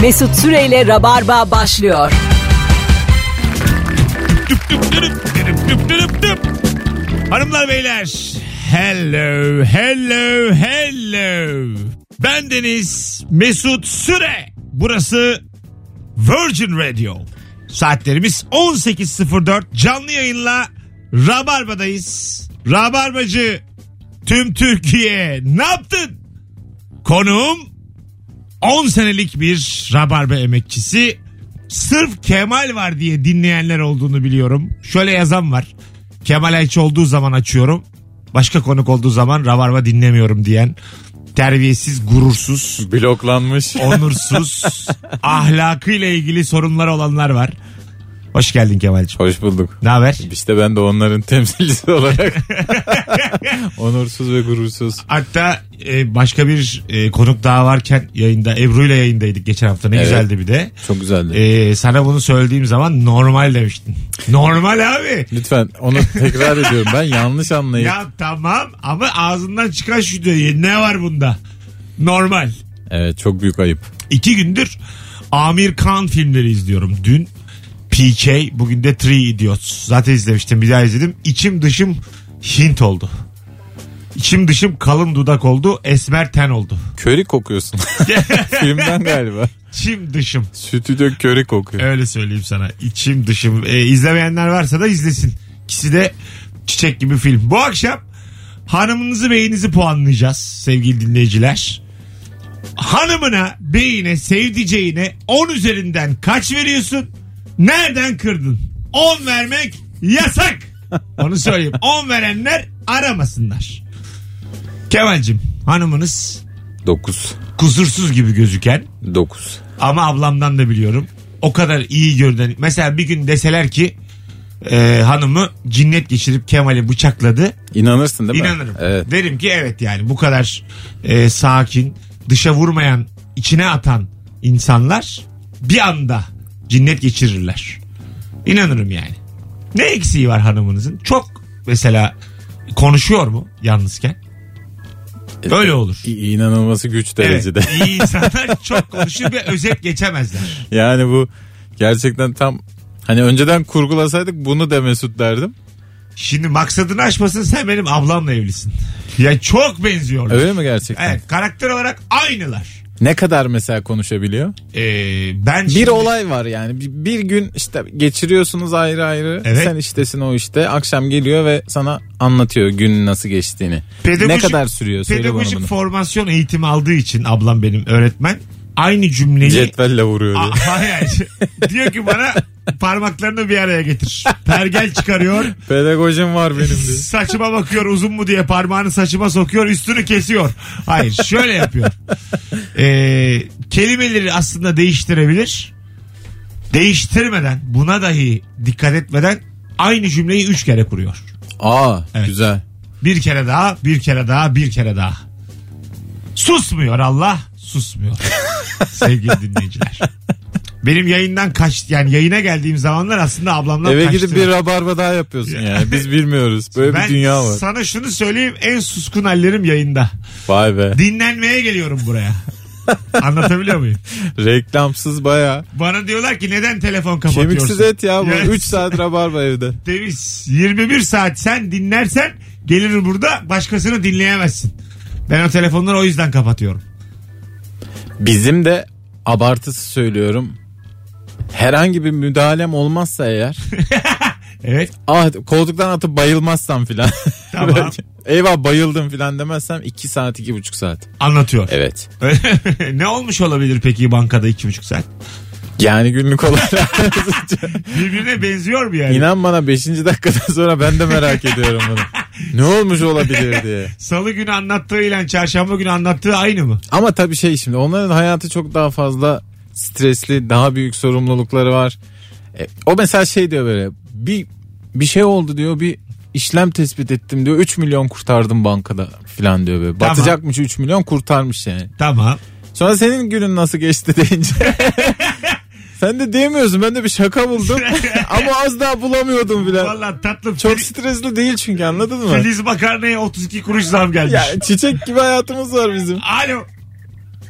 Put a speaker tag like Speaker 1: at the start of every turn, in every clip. Speaker 1: Mesut Süreyle Rabarba başlıyor.
Speaker 2: Düp düp dürüp dürüp düp dürüp düp. Hanımlar beyler. Hello, hello, hello. Ben Deniz Mesut Süre. Burası Virgin Radio. Saatlerimiz 18.04. Canlı yayınla Rabarba'dayız. Rabarbacı tüm Türkiye ne yaptın? Konuğum 10 senelik bir Rabarba emekçisi. Sırf Kemal var diye dinleyenler olduğunu biliyorum. Şöyle yazan var. Kemal Ayçi olduğu zaman açıyorum. Başka konuk olduğu zaman Rabarba dinlemiyorum diyen. Terbiyesiz, gurursuz
Speaker 3: Bloklanmış.
Speaker 2: onursuz, ahlakıyla ilgili sorunlar olanlar var. Hoş geldin Kemal'ciğim.
Speaker 3: Hoş bulduk.
Speaker 2: Ne haber?
Speaker 3: İşte ben de onların temsilcisi olarak onursuz ve gurursuz.
Speaker 2: Hatta e, başka bir e, konuk daha varken yayında Ebru ile yayındaydık geçen hafta. Ne
Speaker 3: Evet.
Speaker 2: güzeldi bir de.
Speaker 3: Çok güzeldi.
Speaker 2: E, sana bunu söylediğim zaman normal demiştin. Normal abi.
Speaker 3: Lütfen onu tekrar ediyorum. Ben yanlış anlayıp.
Speaker 2: Ya tamam ama ağzından çıkan şu diyor. Ne var bunda? Normal.
Speaker 3: Evet çok büyük ayıp.
Speaker 2: İki gündür Amir Khan filmleri izliyorum. Dün PK, bugün de Three Idiots. Zaten izlemiştim, bir daha izledim. İçim dışım Hint oldu. İçim dışım kalın dudak oldu, esmer ten oldu.
Speaker 3: Köri kokuyorsun. Filmden galiba.
Speaker 2: İçim dışım.
Speaker 3: Stüdyo köri kokuyor.
Speaker 2: Öyle söyleyeyim sana. İçim dışım. Ee, izlemeyenler varsa da izlesin. İkisi de çiçek gibi film. Bu akşam hanımınızı beyinizi puanlayacağız sevgili dinleyiciler. Hanımına, beyine, sevdiceğine 10 üzerinden kaç veriyorsun? Nereden kırdın? 10 vermek yasak. Onu söyleyeyim. 10 verenler aramasınlar. Kemal'cim hanımınız
Speaker 3: 9.
Speaker 2: kusursuz gibi gözüken
Speaker 3: 9.
Speaker 2: ama ablamdan da biliyorum. O kadar iyi görünen. Mesela bir gün deseler ki e, hanımı cinnet geçirip Kemal'i bıçakladı.
Speaker 3: İnanırsın değil mi?
Speaker 2: İnanırım.
Speaker 3: Evet.
Speaker 2: Derim ki evet yani bu kadar e, sakin, dışa vurmayan, içine atan insanlar bir anda cinnet geçirirler. İnanırım yani. Ne eksiği var hanımınızın? Çok mesela konuşuyor mu yalnızken? Öyle olur.
Speaker 3: İ- İnanılması güç derecede.
Speaker 2: Evet, iyi insanlar çok konuşur ve özet geçemezler.
Speaker 3: Yani bu gerçekten tam hani önceden kurgulasaydık bunu de Mesut derdim.
Speaker 2: Şimdi maksadını aşmasın sen benim ablamla evlisin. Ya çok benziyorlar.
Speaker 3: Öyle mi gerçekten?
Speaker 2: Evet karakter olarak aynılar.
Speaker 3: Ne kadar mesela konuşabiliyor?
Speaker 2: Ee, ben
Speaker 3: Bir
Speaker 2: şimdi-
Speaker 3: olay var yani. Bir- Bir gün işte geçiriyorsunuz ayrı ayrı.
Speaker 2: Evet.
Speaker 3: Sen iştesin o işte. Akşam geliyor ve sana anlatıyor günün nasıl geçtiğini.
Speaker 2: Pedagojik-
Speaker 3: ne kadar sürüyor? Söyle bana
Speaker 2: pedagojik
Speaker 3: bunu.
Speaker 2: formasyon eğitimi aldığı için ablam benim öğretmen aynı cümleyi
Speaker 3: Cetvelle vuruyor. diyor.
Speaker 2: Aa, hayır. diyor ki bana parmaklarını bir araya getir. Pergel çıkarıyor.
Speaker 3: Pedagojim var benim diyor.
Speaker 2: saçıma bakıyor uzun mu diye parmağını saçıma sokuyor üstünü kesiyor. Hayır şöyle yapıyor. Ee, kelimeleri aslında değiştirebilir. Değiştirmeden buna dahi dikkat etmeden aynı cümleyi üç kere kuruyor.
Speaker 3: Aa
Speaker 2: Evet.
Speaker 3: güzel.
Speaker 2: Bir kere daha bir kere daha bir kere daha. Susmuyor Allah susmuyor. Sevgili dinleyiciler. Benim yayından kaç yani yayına geldiğim zamanlar aslında ablamdan
Speaker 3: Eve
Speaker 2: kaçtı.
Speaker 3: gidip bir rabarba daha yapıyorsun yani. Biz bilmiyoruz. Böyle
Speaker 2: ben
Speaker 3: bir dünya var.
Speaker 2: sana şunu söyleyeyim en suskun hallerim yayında.
Speaker 3: Vay be.
Speaker 2: Dinlenmeye geliyorum buraya. Anlatabiliyor muyum?
Speaker 3: Reklamsız baya.
Speaker 2: Bana diyorlar ki neden telefon kapatıyorsun?
Speaker 3: Kemiksiz et ya bu.
Speaker 2: Yes.
Speaker 3: 3 saat rabarba evde.
Speaker 2: Temiz. 21 saat sen dinlersen gelir burada başkasını dinleyemezsin. Ben o telefonları o yüzden kapatıyorum.
Speaker 3: Bizim de abartısı söylüyorum. Herhangi bir müdahalem olmazsa eğer
Speaker 2: Evet.
Speaker 3: Ah koltuktan atıp bayılmazsam filan.
Speaker 2: Tamam.
Speaker 3: Belki, Eyvah bayıldım filan demezsem 2 saat 2,5 saat.
Speaker 2: Anlatıyor.
Speaker 3: Evet.
Speaker 2: ne olmuş olabilir peki bankada iki buçuk saat?
Speaker 3: Yani günlük olarak.
Speaker 2: Birbirine benziyor mu yani?
Speaker 3: İnan bana 5. dakikadan sonra ben de merak ediyorum bunu. Ne olmuş olabilir diye.
Speaker 2: Salı günü anlattığı ile çarşamba günü anlattığı aynı mı?
Speaker 3: Ama tabii şey şimdi onların hayatı çok daha fazla stresli, daha büyük sorumlulukları var. E, o mesela şey diyor böyle bir bir şey oldu diyor bir işlem tespit ettim diyor 3 milyon kurtardım bankada filan diyor böyle.
Speaker 2: Tamam.
Speaker 3: Batacakmış 3 milyon kurtarmış yani.
Speaker 2: Tamam.
Speaker 3: Sonra senin günün nasıl geçti deyince. Sen de diyemiyorsun ben de bir şaka buldum ama az daha bulamıyordum bile.
Speaker 2: Valla tatlım.
Speaker 3: Çok
Speaker 2: Filiz,
Speaker 3: stresli değil çünkü anladın mı?
Speaker 2: Filiz makarnaya 32 kuruş zam gelmiş.
Speaker 3: Ya çiçek gibi hayatımız var bizim.
Speaker 2: Alo.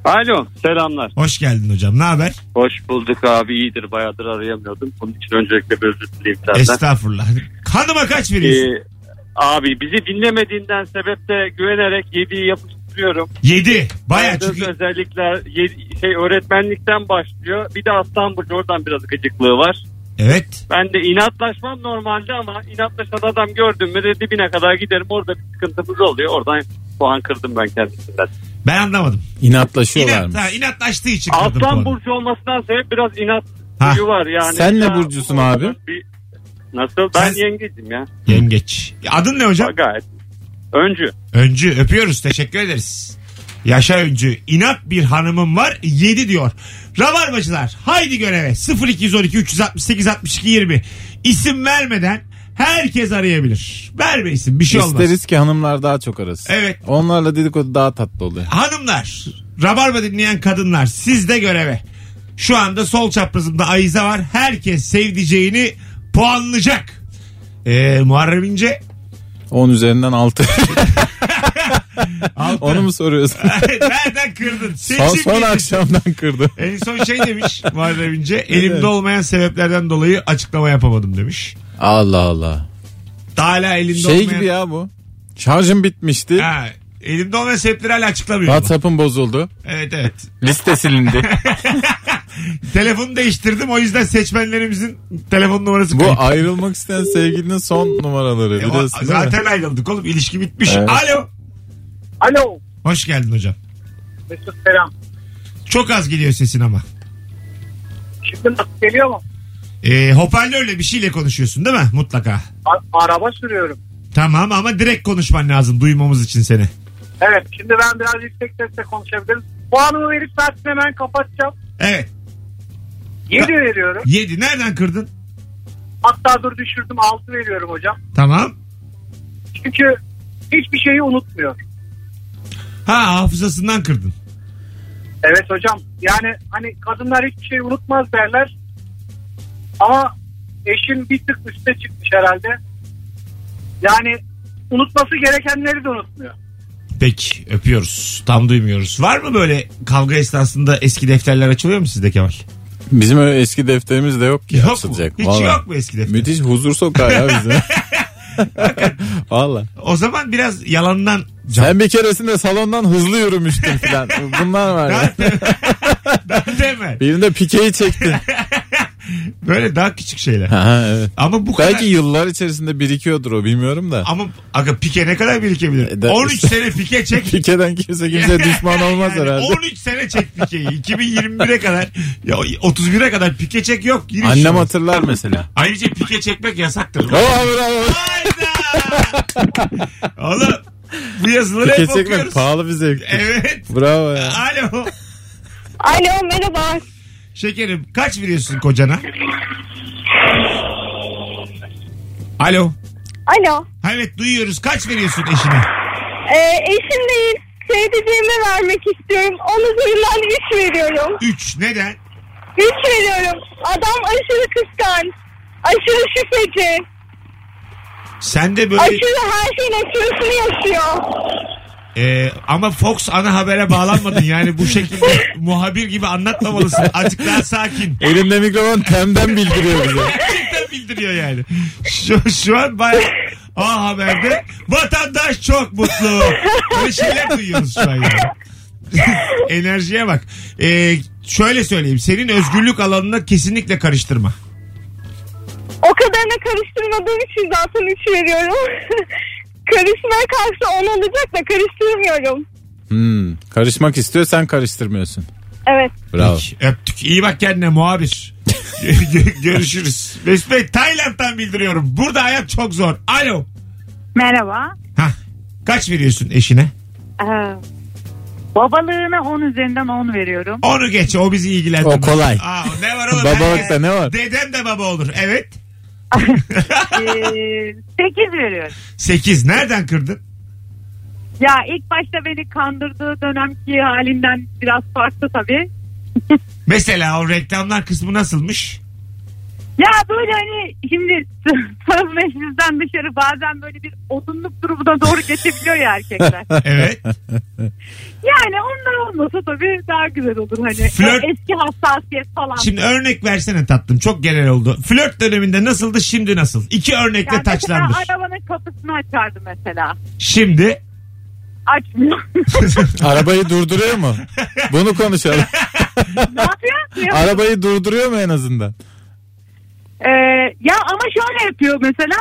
Speaker 4: Alo selamlar.
Speaker 2: Hoş geldin hocam. Ne haber?
Speaker 4: Hoş bulduk abi iyidir bayağıdır arayamıyordum. Bunun için öncelikle bir özür dileyim senden.
Speaker 2: Estağfurullah. Hanıma kaç veriyorsun?
Speaker 4: Ee, abi bizi dinlemediğinden sebep de güvenerek yediği yapıştırıyorum.
Speaker 2: 7. Baya
Speaker 4: Bayağıdır
Speaker 2: çünkü
Speaker 4: Özellikler ye- şey öğretmenlikten başlıyor. Bir de aslan burcu oradan biraz gıcıklığı var.
Speaker 2: evet.
Speaker 4: Ben de inatlaşmam normalde ama inatlaşan adam gördüm mü de dibine kadar giderim. Orada bir sıkıntımız oluyor. Oradan puan kırdım ben kendisinden.
Speaker 2: Ben anlamadım.
Speaker 3: İnatlaşıyorlar
Speaker 2: İnat,
Speaker 3: mı?
Speaker 2: ha, inatlaştığı için kırdım
Speaker 4: Aslan
Speaker 2: puanı.
Speaker 4: burcu olmasından sebep biraz inat
Speaker 2: Ha.
Speaker 4: huyu var yani.
Speaker 3: Sen ne
Speaker 4: Ya,
Speaker 3: burcusun abi?
Speaker 4: bir- Nasıl? Ben
Speaker 2: Sen-
Speaker 4: yengecim ya.
Speaker 2: Yengeç. Adın ne hocam?
Speaker 4: Gayet. Öncü.
Speaker 2: Öncü öpüyoruz teşekkür ederiz. Yaşa Öncü. İnat bir hanımım var 7 diyor. Rabarbacılar haydi göreve 0212 368 62 20 isim vermeden herkes arayabilir. Verme isim bir şey olmaz.
Speaker 3: İsteriz ki hanımlar daha çok arasın.
Speaker 2: Evet.
Speaker 3: Onlarla dedikodu daha tatlı oluyor.
Speaker 2: Hanımlar Rabarba dinleyen kadınlar siz de göreve. Şu anda sol çaprazımda Ayza var. Herkes sevdiceğini puanlayacak. Ee, Muharrem İnce
Speaker 3: 10 üzerinden 6.
Speaker 2: altı.
Speaker 3: Onu mu soruyorsun?
Speaker 2: Nereden kırdın?
Speaker 3: son,
Speaker 2: Seçim
Speaker 3: son
Speaker 2: gecesi.
Speaker 3: akşamdan kırdı.
Speaker 2: En son şey demiş Muharrem İnce. Elimde olmayan sebeplerden dolayı açıklama yapamadım demiş.
Speaker 3: Allah Allah.
Speaker 2: Daha hala elinde
Speaker 3: Şey
Speaker 2: olmayan...
Speaker 3: gibi ya bu. Şarjım bitmişti.
Speaker 2: Ha, elimde olmayan sebepleri hala açıklamıyor. ama.
Speaker 3: WhatsApp'ım bozuldu.
Speaker 2: Evet evet.
Speaker 3: Liste silindi.
Speaker 2: Telefonu değiştirdim o yüzden seçmenlerimizin telefon numarası
Speaker 3: bu
Speaker 2: kayıp.
Speaker 3: ayrılmak isteyen sevgilinin son numaraları.
Speaker 2: E, o-
Speaker 3: Biliyorsun değil mi?
Speaker 2: zaten ayrıldık oğlum ilişki bitmiş.
Speaker 3: Evet.
Speaker 2: Alo.
Speaker 5: Alo
Speaker 2: Hoş geldin hocam.
Speaker 5: Mesut selam.
Speaker 2: Çok az geliyor sesin ama.
Speaker 5: Şimdi nasıl geliyor mu?
Speaker 2: E, hoparlörle bir şeyle konuşuyorsun değil mi? Mutlaka.
Speaker 5: A- araba sürüyorum.
Speaker 2: Tamam ama direkt konuşman lazım duymamız için seni.
Speaker 5: Evet şimdi ben biraz yüksek sesle konuşabilirim. Puanımı verip zaten hemen kapatacağım.
Speaker 2: Evet.
Speaker 5: 7 veriyorum.
Speaker 2: 7. Nereden kırdın?
Speaker 5: Hatta dur düşürdüm 6 veriyorum hocam.
Speaker 2: Tamam.
Speaker 5: Çünkü hiçbir şeyi unutmuyor.
Speaker 2: Ha hafızasından kırdın.
Speaker 5: Evet hocam yani hani kadınlar hiçbir şeyi unutmaz derler. Ama eşim bir tık üste çıkmış herhalde. Yani unutması gerekenleri de unutmuyor.
Speaker 2: Peki öpüyoruz. Tam duymuyoruz. Var mı böyle kavga esnasında eski defterler açılıyor mu sizde Kemal?
Speaker 3: Bizim öyle eski defterimiz de yok ki.
Speaker 2: Yok mu?
Speaker 3: açılacak.
Speaker 2: Hiç
Speaker 3: Vallahi.
Speaker 2: yok mu eski defter?
Speaker 3: Müthiş huzur sokar ya bizi. Valla.
Speaker 2: O zaman biraz yalandan can.
Speaker 3: Sen bir keresinde salondan hızlı yürümüştün filan. Bunlar var ya.
Speaker 2: Deme.
Speaker 3: Birinde pikeyi çektin.
Speaker 2: Böyle daha küçük şeyler.
Speaker 3: Aha, evet.
Speaker 2: Ama bu kadar...
Speaker 3: Belki yıllar içerisinde birikiyordur o bilmiyorum da.
Speaker 2: Ama aga pike ne kadar birikebilir?
Speaker 3: E, de-
Speaker 2: 13 sene pike çek.
Speaker 3: Pikeden kimse kimse düşman olmaz
Speaker 2: Yani
Speaker 3: herhalde.
Speaker 2: 13 sene çek pikeyi. 2021'e kadar. Ya 31'e kadar pike çek yok. Giriş
Speaker 3: Annem
Speaker 2: yok.
Speaker 3: hatırlar mesela.
Speaker 2: Ayrıca pike çekmek yasaktır.
Speaker 3: Bravo bravo.
Speaker 2: Hayda! Oğlum bu yazıları
Speaker 3: Pike
Speaker 2: hep
Speaker 3: çekmek
Speaker 2: okuyoruz.
Speaker 3: pahalı bir zevk.
Speaker 2: Evet.
Speaker 3: Bravo ya.
Speaker 2: Alo.
Speaker 6: Alo merhaba.
Speaker 2: Şekerim kaç veriyorsun kocana? Alo.
Speaker 6: Alo.
Speaker 2: Ha Evet duyuyoruz. Kaç veriyorsun eşine?
Speaker 6: Ee, eşim değil. Sevdiceğime vermek istiyorum. Onun üzerinden 3 veriyorum.
Speaker 2: 3. Neden?
Speaker 6: 3 veriyorum. Adam aşırı kıskanç. Aşırı şüpheci.
Speaker 2: Sen de böyle
Speaker 6: Aşırı her şeyin aşırısını yaşıyor.
Speaker 2: e, ama Fox ana habere bağlanmadın. Yani bu şekilde muhabir gibi anlatmamalısın. Azıcık daha sakin.
Speaker 3: Elimde mikrofon temden bildiriyor bize.
Speaker 2: Gerçekten bildiriyor yani. Şu, şu an baya A Haber'de vatandaş çok mutlu. Böyle şeyler duyuyoruz şu an yani. Enerjiye bak. Ee, şöyle söyleyeyim. Senin özgürlük alanına kesinlikle karıştırma.
Speaker 6: O kadarına karıştırmadığım için zaten 3 veriyorum. Karışmaya karşı 10 olacak da karıştırmıyorum.
Speaker 3: Hmm, karışmak istiyor sen karıştırmıyorsun.
Speaker 6: Evet.
Speaker 3: Bravo.
Speaker 2: Peki, Öptük. İyi bak kendine muhabir. Gö- Görüşürüz. Mesut Bey Tayland'dan bildiriyorum. Burada hayat çok zor. Alo.
Speaker 7: Merhaba.
Speaker 2: Hah. Kaç veriyorsun eşine?
Speaker 7: Ee, babalığına 10 üzerinden 10 veriyorum.
Speaker 2: Onu geç. O bizi ilgilendirmez.
Speaker 3: O kolay.
Speaker 2: Aa, ne var oğlum?
Speaker 3: Babalıkta ne var?
Speaker 2: Dedem de baba olur. Evet.
Speaker 7: Ee, 8 veriyorum.
Speaker 2: 8 nereden kırdın?
Speaker 7: Ya ilk başta beni kandırdığı dönemki halinden biraz farklı tabii.
Speaker 2: Mesela o reklamlar kısmı nasılmış?
Speaker 7: Ya böyle hani şimdi söz meclisten dışarı bazen böyle bir odunluk durumuna doğru geçebiliyor ya erkekler.
Speaker 2: Evet.
Speaker 7: Yani onlar olmasa tabii daha güzel olur hani.
Speaker 2: Flört-
Speaker 7: O Eski hassasiyet falan.
Speaker 2: Şimdi örnek versene tatlım. Çok genel oldu. Flört döneminde nasıldı şimdi nasıl? İki örnekle
Speaker 7: yani mesela
Speaker 2: taçlandır.
Speaker 7: arabanın kapısını açardı mesela.
Speaker 2: Şimdi
Speaker 7: Açmıyor.
Speaker 3: Arabayı durduruyor mu? Bunu konuşalım.
Speaker 7: ne yapıyor?
Speaker 3: Arabayı durduruyor mu en azından?
Speaker 7: Ee, ya ama şöyle yapıyor mesela.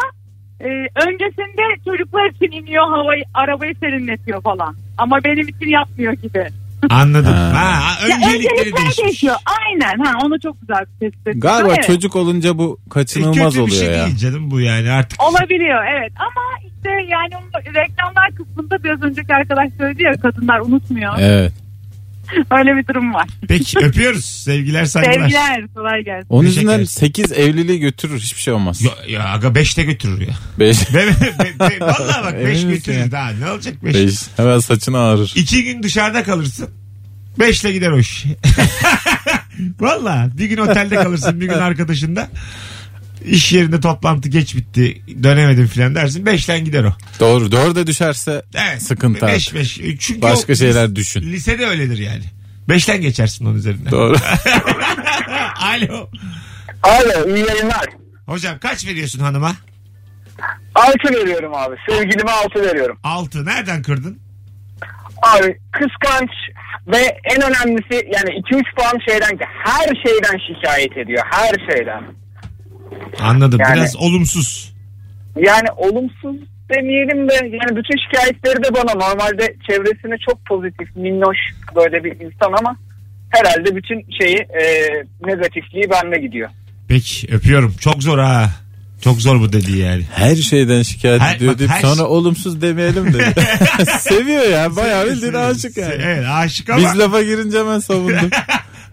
Speaker 7: Ee, öncesinde çocuklar için iniyor havayı, arabayı serinletiyor falan. Ama benim için yapmıyor gibi.
Speaker 2: anladım.
Speaker 3: Ha.
Speaker 2: Ha,
Speaker 7: Ya
Speaker 2: öncelikleri
Speaker 7: öncelikler
Speaker 2: değişmiş.
Speaker 7: değişiyor. Aynen. Ha, onu çok güzel tespit ettin.
Speaker 3: Galiba
Speaker 7: Evet.
Speaker 3: çocuk olunca bu
Speaker 2: E,
Speaker 3: kaçınılmaz
Speaker 2: Kötü bir
Speaker 3: oluyor
Speaker 2: şey
Speaker 3: ya.
Speaker 2: değil canım bu yani artık.
Speaker 7: Olabiliyor evet ama işte yani onun reklamlar kısmında biraz önceki arkadaş söyledi ya kadınlar unutmuyor.
Speaker 3: Evet.
Speaker 7: Öyle bir durum var.
Speaker 2: Peki öpüyoruz. Sevgiler saygılar.
Speaker 7: Sevgiler kolay gelsin.
Speaker 3: Onun
Speaker 2: Teşekkür
Speaker 3: yüzünden
Speaker 2: ederim.
Speaker 3: 8 evliliği götürür hiçbir şey olmaz.
Speaker 2: Ya, ya aga 5'te götürür ya.
Speaker 3: Beş.
Speaker 2: Be, be- be- be- Vallahi bak 5
Speaker 3: Emin misin
Speaker 2: götürür
Speaker 3: ya?
Speaker 2: daha. Ne olacak 5?
Speaker 3: Beş. Hemen saçını ağrır.
Speaker 2: 2 gün dışarıda kalırsın. 5'le gider o iş. Valla bir gün otelde kalırsın bir gün arkadaşında. İş yerinde toplantı geç bitti dönemedim filan dersin. Beşten gider o.
Speaker 3: Doğru. Dörde düşerse
Speaker 2: Evet.
Speaker 3: sıkıntı
Speaker 2: Beş
Speaker 3: artık.
Speaker 2: beş. E, Çünkü
Speaker 3: Başka
Speaker 2: o-
Speaker 3: şeyler düşün.
Speaker 2: Lisede öyledir yani. Beşten geçersin onun üzerinden.
Speaker 3: Doğru.
Speaker 2: Alo.
Speaker 5: Alo iyi yayınlar.
Speaker 2: Hocam kaç veriyorsun hanıma?
Speaker 5: Altı veriyorum abi. Sevgilime altı veriyorum.
Speaker 2: Altı. Nereden kırdın?
Speaker 5: Abi kıskanç ve en önemlisi yani 2-3 puan şeyden ki her şeyden şikayet ediyor. Her şeyden.
Speaker 2: Anladım.
Speaker 5: Yani-
Speaker 2: Biraz olumsuz.
Speaker 5: Yani olumsuz demeyelim de yani bütün şikayetleri de bana normalde çevresine çok pozitif, minnoş böyle bir insan ama herhalde bütün şeyi e, negatifliği bende gidiyor.
Speaker 2: Peki öpüyorum. Çok zor ha. Çok zor bu dediği yani.
Speaker 3: Her şeyden şikayet
Speaker 2: Her-
Speaker 3: ediyor
Speaker 2: bak,
Speaker 3: deyip
Speaker 2: her- şey-
Speaker 3: sonra olumsuz demeyelim de. Seviyor ya. Bayağı bildiğin aşık yani.
Speaker 2: Evet aşık ama.
Speaker 3: Biz lafa girince hemen savundum.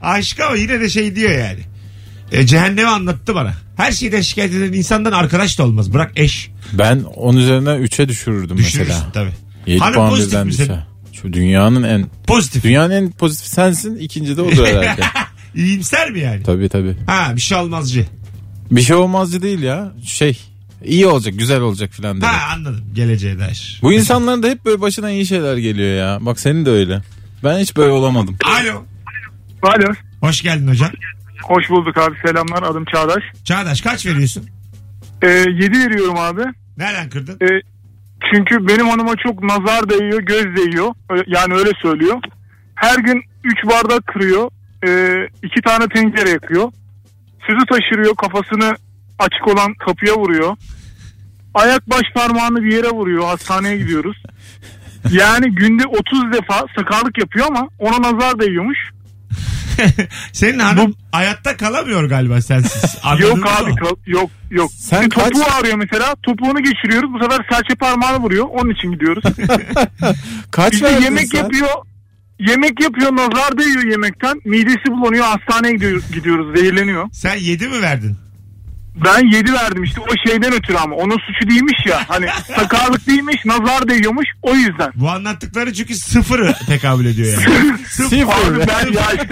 Speaker 2: Aşık ama yine de şey diyor yani. E, cehennemi anlattı bana. Her şeyden şikayet eden insandan arkadaş da olmaz. Bırak eş.
Speaker 3: ben onun üzerinden 3'e düşürürdüm
Speaker 2: Düşürürsün
Speaker 3: mesela.
Speaker 2: tabii.
Speaker 3: 7
Speaker 2: Hanım
Speaker 3: puan
Speaker 2: pozitif
Speaker 3: birden
Speaker 2: mi senin?
Speaker 3: düşse. Şu dünyanın en
Speaker 2: Pozitif.
Speaker 3: dünyanın en pozitif sensin. ikinci de odur herhalde.
Speaker 2: İyimser mi yani?
Speaker 3: tabii tabii.
Speaker 2: Ha bir şey olmazcı.
Speaker 3: Bir şey olmazcı değil ya. Şey iyi olacak güzel olacak filan dedi.
Speaker 2: Ha anladım. Geleceğe dair.
Speaker 3: Bu insanların da hep böyle başına iyi şeyler geliyor ya. Bak senin de öyle. Ben hiç böyle olamadım.
Speaker 2: Alo.
Speaker 8: Alo.
Speaker 2: Hoş geldin hocam.
Speaker 8: Hoş bulduk abi. Selamlar. Adım Çağdaş.
Speaker 2: Çağdaş kaç veriyorsun?
Speaker 8: Ee, 7 veriyorum abi.
Speaker 2: Nereden kırdın?
Speaker 8: Ee, çünkü benim hanıma çok nazar değiyor, göz değiyor. Ö- Yani öyle söylüyor. Her gün 3 bardak kırıyor. Ee, iki tane tencere yakıyor. Sözü taşırıyor. Kafasını açık olan kapıya vuruyor. Ayak baş parmağını bir yere vuruyor. Hastaneye gidiyoruz. Yani günde 30 defa sakarlık yapıyor ama ona nazar değiyormuş.
Speaker 2: Senin hanım hayatta kalamıyor galiba sensiz. Anladın
Speaker 8: Yok
Speaker 2: mı?
Speaker 8: abi kal- yok yok.
Speaker 3: Sen
Speaker 8: Bir
Speaker 3: kaç-
Speaker 8: topuğu arıyor mesela. Topuğunu geçiriyoruz. Bu sefer serçe parmağını vuruyor. Onun için gidiyoruz.
Speaker 3: Kaç
Speaker 8: işte
Speaker 3: verdin
Speaker 8: yemek
Speaker 3: sen?
Speaker 8: yapıyor. Yemek yapıyor. Nazar değiyor yemekten. Midesi bulanıyor. Hastaneye gidiyoruz, gidiyoruz. Zehirleniyor.
Speaker 2: Sen 7 mi verdin?
Speaker 8: Ben 7 verdim işte. O şeyden ötürü ama. Onun suçu değilmiş ya. Hani sakarlık değilmiş. Nazar değiyormuş. O yüzden.
Speaker 2: Bu anlattıkları çünkü sıfırı tekabül ediyor yani.
Speaker 8: Abi
Speaker 3: Sıfır.
Speaker 8: ben ya işte-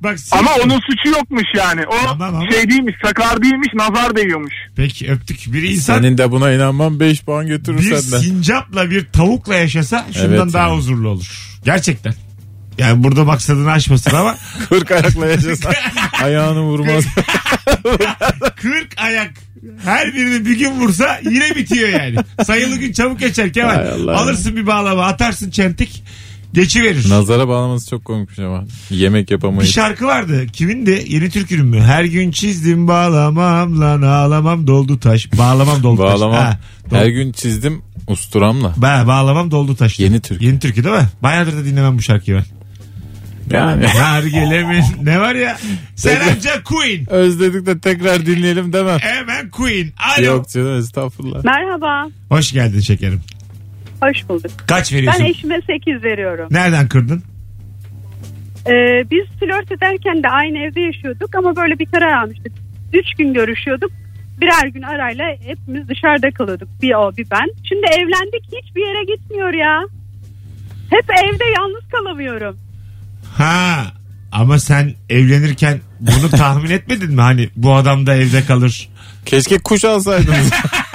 Speaker 2: Bak sıfır.
Speaker 8: ama onun suçu yokmuş yani. O
Speaker 2: Tamam ama-
Speaker 8: şey değilmiş. Sakar değilmiş. Nazar değiyormuş.
Speaker 2: Peki öptük. Bir insan
Speaker 3: Senin de buna inanmam 5 puan götürür
Speaker 2: bir
Speaker 3: senden.
Speaker 2: sincapla bir tavukla yaşasa şundan
Speaker 3: Evet
Speaker 2: daha
Speaker 3: yani.
Speaker 2: huzurlu olur. Gerçekten. Yani burada maksadını aşmasın ama
Speaker 3: 40 ayakla yaşasan ayağını vurmaz.
Speaker 2: şey- 40 ayak her birini bir gün vursa yine bitiyor yani. Sayılı gün çabuk geçer
Speaker 3: Hay
Speaker 2: Kemal.
Speaker 3: Allah.
Speaker 2: Alırsın bir bağlama atarsın çentik geçiverir.
Speaker 3: Nazara bağlaması çok komikmiş ama. Yemek
Speaker 2: Bir şey
Speaker 3: yapamayız.
Speaker 2: şarkı vardı. Kimin de yeni türkünün mü? Her gün çizdim bağlamam lan ağlamam doldu taş. Bağlamam doldu taş.
Speaker 3: Bağlamam.
Speaker 2: Ha, dol-
Speaker 3: Her gün çizdim usturamla.
Speaker 2: Ba- bağlamam doldu taş.
Speaker 3: Yeni türkü.
Speaker 2: Yeni türkü değil mi? Bayağıdır da dinlemem bu şarkıyı ben.
Speaker 3: Yani.
Speaker 2: Nargilemin ne var ya? Selamca Queen.
Speaker 3: Özledik de tekrar dinleyelim demem.
Speaker 2: Hemen Queen. Alo.
Speaker 3: Yok canım estağfurullah.
Speaker 7: Merhaba.
Speaker 2: Hoş geldin şekerim.
Speaker 7: Hoş bulduk.
Speaker 2: Kaç veriyorsun?
Speaker 7: Ben eşime 8 veriyorum.
Speaker 2: Nereden kırdın?
Speaker 7: Ee, biz flört ederken de aynı evde yaşıyorduk ama böyle bir karar almıştık. Üç gün görüşüyorduk. Birer gün arayla hepimiz dışarıda kalıyorduk. Bir o bir ben. Şimdi evlendik hiçbir yere gitmiyor ya. Hep evde yalnız kalamıyorum.
Speaker 2: Ha. Ama sen evlenirken bunu tahmin etmedin mi? Hani bu adam da evde kalır.
Speaker 3: Keşke kuş alsaydınız.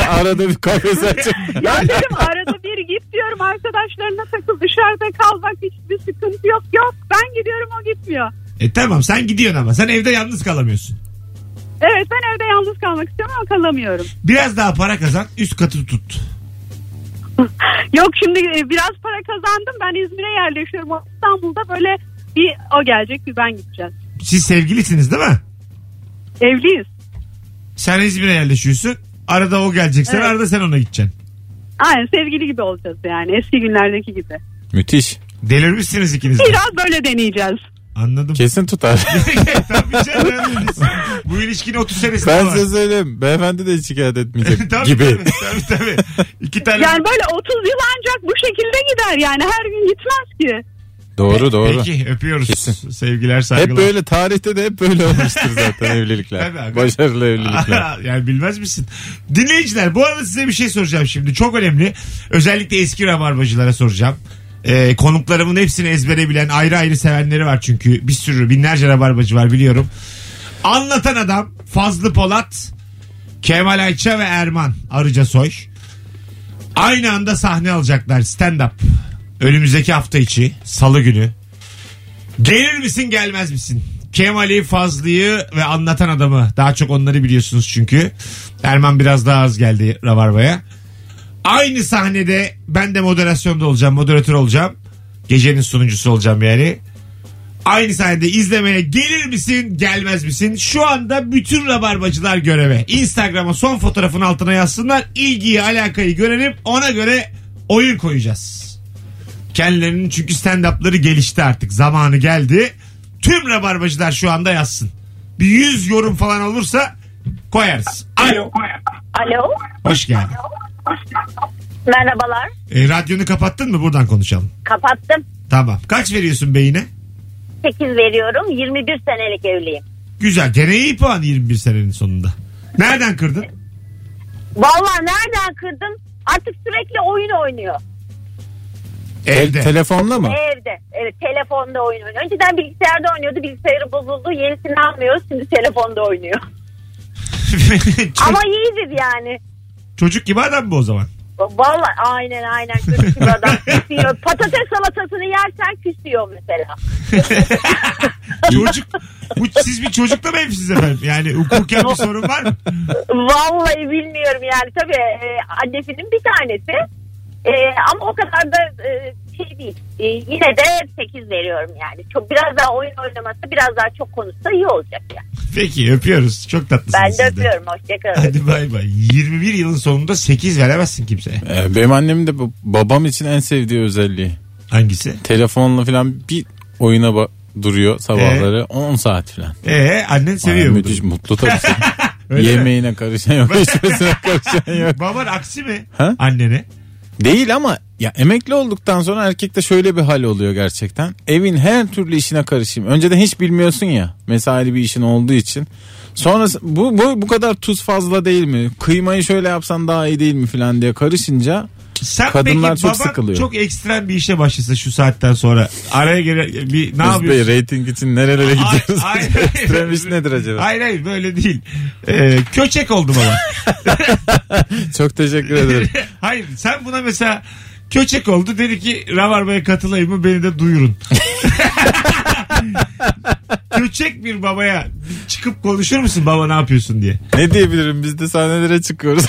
Speaker 3: Arada bir kafes açın.
Speaker 7: Ya dedim arada bir git diyorum arkadaşlarına takıl dışarıda kal bak hiçbir sıkıntı yok. Yok ben gidiyorum o gitmiyor.
Speaker 2: E tamam sen gidiyorsun ama sen evde yalnız kalamıyorsun.
Speaker 7: Evet ben evde yalnız kalmak istiyorum ama kalamıyorum.
Speaker 2: Biraz daha para kazan üst katı tut.
Speaker 7: Yok şimdi e, biraz para kazandım ben İzmir'e yerleşiyorum. O İstanbul'da böyle bir o gelecek bir ben gideceğiz.
Speaker 2: Siz sevgilisiniz değil mi?
Speaker 7: Evliyiz.
Speaker 2: Sen İzmir'e yerleşiyorsun. Arada o gelecek. Sen
Speaker 7: Evet.
Speaker 2: arada sen ona gideceksin.
Speaker 7: Aynen sevgili gibi olacağız yani eski günlerdeki gibi.
Speaker 3: Müthiş.
Speaker 2: Delirmişsiniz ikiniz de.
Speaker 7: Biraz böyle deneyeceğiz.
Speaker 2: Anladım.
Speaker 3: Kesin tutar.
Speaker 2: Tabii canım. Bu ilişkinin 30 senesi
Speaker 3: ben
Speaker 2: var.
Speaker 3: size söyleyeyim. Beyefendi de hiç şikayet etmeyecek
Speaker 2: tabii,
Speaker 3: gibi.
Speaker 2: Tabii, tabii tabii. İki tane.
Speaker 7: Yani böyle 30 yıl ancak bu şekilde gider yani her gün gitmez ki.
Speaker 3: doğru doğru.
Speaker 2: Peki öpüyoruz.
Speaker 3: Kesin.
Speaker 2: Sevgiler saygılar.
Speaker 3: Hep böyle tarihte de hep böyle olmuştur zaten evlilikler.
Speaker 2: Tabii abi.
Speaker 3: Başarılı evlilikler.
Speaker 2: yani bilmez misin? Dinleyiciler bu arada size bir şey soracağım şimdi. Çok önemli. Özellikle eski rabarbacılara soracağım. Ee, konuklarımın hepsini ezbere bilen ayrı ayrı sevenleri var çünkü. Bir sürü binlerce rabarbacı var biliyorum. Anlatan adam Fazlı Polat, Kemal Ayça ve Erman Arıca Soy. Aynı anda sahne alacaklar stand up. Önümüzdeki hafta içi salı günü. Gelir misin gelmez misin? Kemal'i, Fazlı'yı ve anlatan adamı. Daha çok onları biliyorsunuz çünkü. Erman biraz daha az geldi Rabarba'ya. Aynı sahnede ben de moderasyonda olacağım, moderatör olacağım. Gecenin sunucusu olacağım yani. Aynı sahnede izlemeye gelir misin, gelmez misin? Şu anda bütün rabarbacılar göreve. Instagram'a son fotoğrafın altına yazsınlar. İlgiyi, alakayı görelim. Ona göre oyun koyacağız. Kendilerinin çünkü stand-up'ları gelişti artık. Zamanı geldi. Tüm rabarbacılar şu anda yazsın. Bir 100 yorum falan olursa koyarız. Alo.
Speaker 9: Alo.
Speaker 2: Hoş geldin.
Speaker 9: Merhabalar.
Speaker 2: E, radyonu kapattın mı? Buradan konuşalım.
Speaker 9: Kapattım.
Speaker 2: Tamam. Kaç veriyorsun beyine?
Speaker 9: 8 veriyorum. 21 senelik evliyim.
Speaker 2: Güzel. Gene iyi puan 21 senenin sonunda. Nereden kırdın?
Speaker 9: Vallahi nereden kırdım? Artık sürekli oyun oynuyor.
Speaker 3: El,
Speaker 2: Evde.
Speaker 3: telefonla mı?
Speaker 9: Evde. Evet telefonda oyun oynuyor. Önceden bilgisayarda oynuyordu. Bilgisayarı bozuldu. Yenisini almıyoruz. Şimdi telefonda oynuyor.
Speaker 2: Ço-
Speaker 9: Ama iyidir yani.
Speaker 2: Çocuk gibi adam bu o zaman.
Speaker 9: Vallahi aynen aynen küsüyor adam küsüyor. Patates salatasını yersen küsüyor mesela.
Speaker 2: Çocuk. Bu, siz bir çocukla mı evlisiniz efendim? Yani hukuken bir sorun var mı?
Speaker 9: Vallahi bilmiyorum yani tabii e, annesinin bir tanesi. E, ama o kadar da e, şey değil. E, yine de 8 veriyorum yani. Çok biraz daha oyun oynaması biraz daha çok konuşsa iyi olacak yani.
Speaker 2: Peki öpüyoruz. Çok tatlısınız.
Speaker 9: Ben
Speaker 2: siz
Speaker 9: de öpüyorum hoşçakalın.
Speaker 2: Hadi bay bay. 21 yılın sonunda 8 veremezsin kimseye.
Speaker 3: Ee, benim annemin de bu- babam için en sevdiği özelliği.
Speaker 2: Hangisi?
Speaker 3: Telefonla falan bir oyuna ba- duruyor sabahları 10 saat falan.
Speaker 2: Ee annen
Speaker 3: Aa,
Speaker 2: seviyor bunu.
Speaker 3: müthiş mutlu tabii.
Speaker 2: Öyle mi?
Speaker 3: Yemeğine karışan yok, içmesine karışan yok.
Speaker 2: Baban aksi mi?
Speaker 3: Ha?
Speaker 2: Annene.
Speaker 3: Değil ama ya emekli olduktan sonra erkekte şöyle bir hal oluyor gerçekten. Evin her türlü işine karışayım. Önceden hiç bilmiyorsun ya. Mesaili bir işin olduğu için. Sonra bu, bu bu kadar tuz fazla değil mi? Kıymayı şöyle yapsan daha iyi değil mi falan diye karışınca
Speaker 2: Sen
Speaker 3: Kadınlar
Speaker 2: peki
Speaker 3: çok
Speaker 2: baban
Speaker 3: sıkılıyor.
Speaker 2: çok ekstrem bir işe başlasa şu saatten sonra araya gire bir ne
Speaker 3: biz de
Speaker 2: yapıyorsun?
Speaker 3: reyting için nerelere
Speaker 2: Ay-
Speaker 3: gidiyoruz?
Speaker 2: ay-
Speaker 3: Ekstrem iş nedir acaba?
Speaker 2: Hayır hayır böyle değil. Ee, köçek oldu baba.
Speaker 3: Çok teşekkür ederim.
Speaker 2: hayır sen buna mesela köçek oldu dedi ki Rabarba'ya katılayım mı beni de duyurun. köçek bir babaya çıkıp konuşur musun baba ne yapıyorsun diye.
Speaker 3: ne diyebilirim? Biz de sahnelere çıkıyoruz.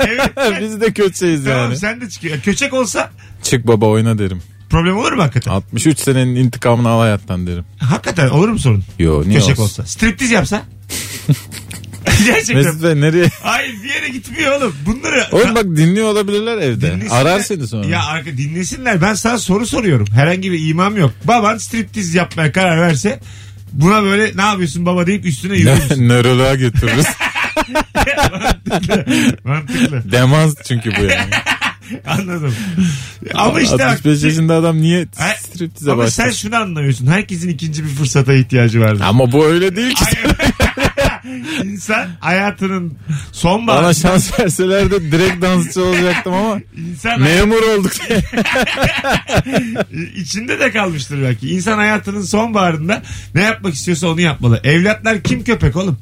Speaker 2: evet.
Speaker 3: Biz de kötüyüz
Speaker 2: Tamam
Speaker 3: yani.
Speaker 2: sen de çıkıyor. Köçek olsa
Speaker 3: Çık baba oyna derim.
Speaker 2: problem olur mu hakikaten?
Speaker 3: 63 senenin intikamını al hayattan derim.
Speaker 2: Hakikaten olur mu sorun?
Speaker 3: Yo niye
Speaker 2: Köçek
Speaker 3: olsun?
Speaker 2: olsa. Striptiz yapsa? Gerçekten.
Speaker 3: Mesut Bey nereye?
Speaker 2: Hayır bir yere gitmiyor oğlum. Bunları...
Speaker 3: Oğlum bak dinliyor olabilirler evde.
Speaker 2: Dinlesinler.
Speaker 3: Arar seni sonra.
Speaker 2: Ya arka dinlesinler. Ben sana soru soruyorum. Herhangi bir imam yok. Baban striptiz yapmaya karar verse buna böyle ne yapıyorsun baba deyip üstüne yürüyorsun.
Speaker 3: Nöroloğa götürürüz.
Speaker 2: Mantıklı.
Speaker 3: Demans çünkü bu yani.
Speaker 2: Anladım. Ama işte bak-
Speaker 3: 65 yaşında adam niye
Speaker 2: Ay-
Speaker 3: striptize
Speaker 2: Ama sen
Speaker 3: başlar?
Speaker 2: şunu anlamıyorsun. Herkesin ikinci bir fırsata ihtiyacı vardır.
Speaker 3: Ama bu öyle değil ki.
Speaker 2: Hayır. İnsan hayatının sonbaharında
Speaker 3: Bana şans verseler de direkt dansçı olacaktım ama
Speaker 2: insan
Speaker 3: memur olduk diye.
Speaker 2: içinde de kalmıştır belki. İnsan hayatının sonbaharında ne yapmak istiyorsa onu yapmalı. Evlatlar kim köpek oğlum?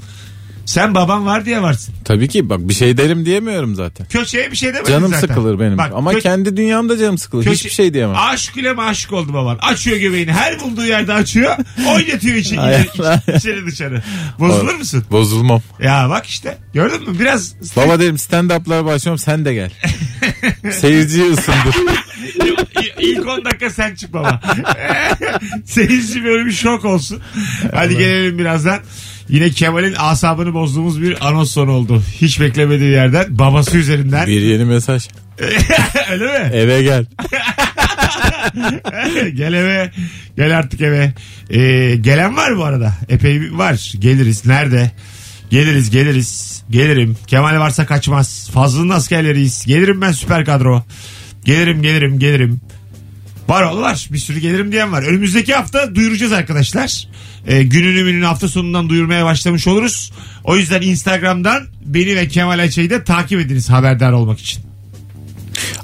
Speaker 2: Sen baban var diye varsın.
Speaker 3: Tabii ki bak bir şey derim diyemiyorum zaten.
Speaker 2: Köşeye bir şey demedin
Speaker 3: Canım
Speaker 2: zaten.
Speaker 3: sıkılır benim.
Speaker 2: Bak,
Speaker 3: ama
Speaker 2: kö-
Speaker 3: kendi dünyamda canım sıkılır.
Speaker 2: köşe-
Speaker 3: Hiçbir şey diyemem.
Speaker 2: Aşık ile maşık oldu baban. Açıyor göbeğini. Her bulduğu yerde açıyor. Oynatıyor içi,
Speaker 3: Ay Allah.
Speaker 2: içeri, içeri dışarı. Bozulur musun?
Speaker 3: Bozulmam.
Speaker 2: Ya bak işte. Gördün mü? Biraz
Speaker 3: Baba derim stand-up'lara başlıyorum sen de gel. Seyirciyi ısındır.
Speaker 2: İ- İlk 10 dakika sen çık baba. Seyirci böyle bir şok olsun. Hadi gelelim birazdan. Yine Kemal'in asabını bozduğumuz bir anons sonu oldu. Hiç beklemediği yerden babası üzerinden.
Speaker 3: bir yeni mesaj.
Speaker 2: Öyle mi?
Speaker 3: Eve gel.
Speaker 2: gel eve. Gel artık eve. Ee, gelen var bu arada. Epey bir var. Geliriz. Nerede? Geliriz geliriz. Gelirim. Kemal varsa kaçmaz. Fazlının askerleriyiz. Gelirim ben süper kadro. Gelirim gelirim gelirim. Var oğlu var. Bir sürü gelirim diyen var. Önümüzdeki hafta duyuracağız arkadaşlar. Ee, gününü mününü hafta sonundan duyurmaya başlamış oluruz. O yüzden Instagram'dan beni ve Kemal Ayça'yı da takip ediniz haberdar olmak için.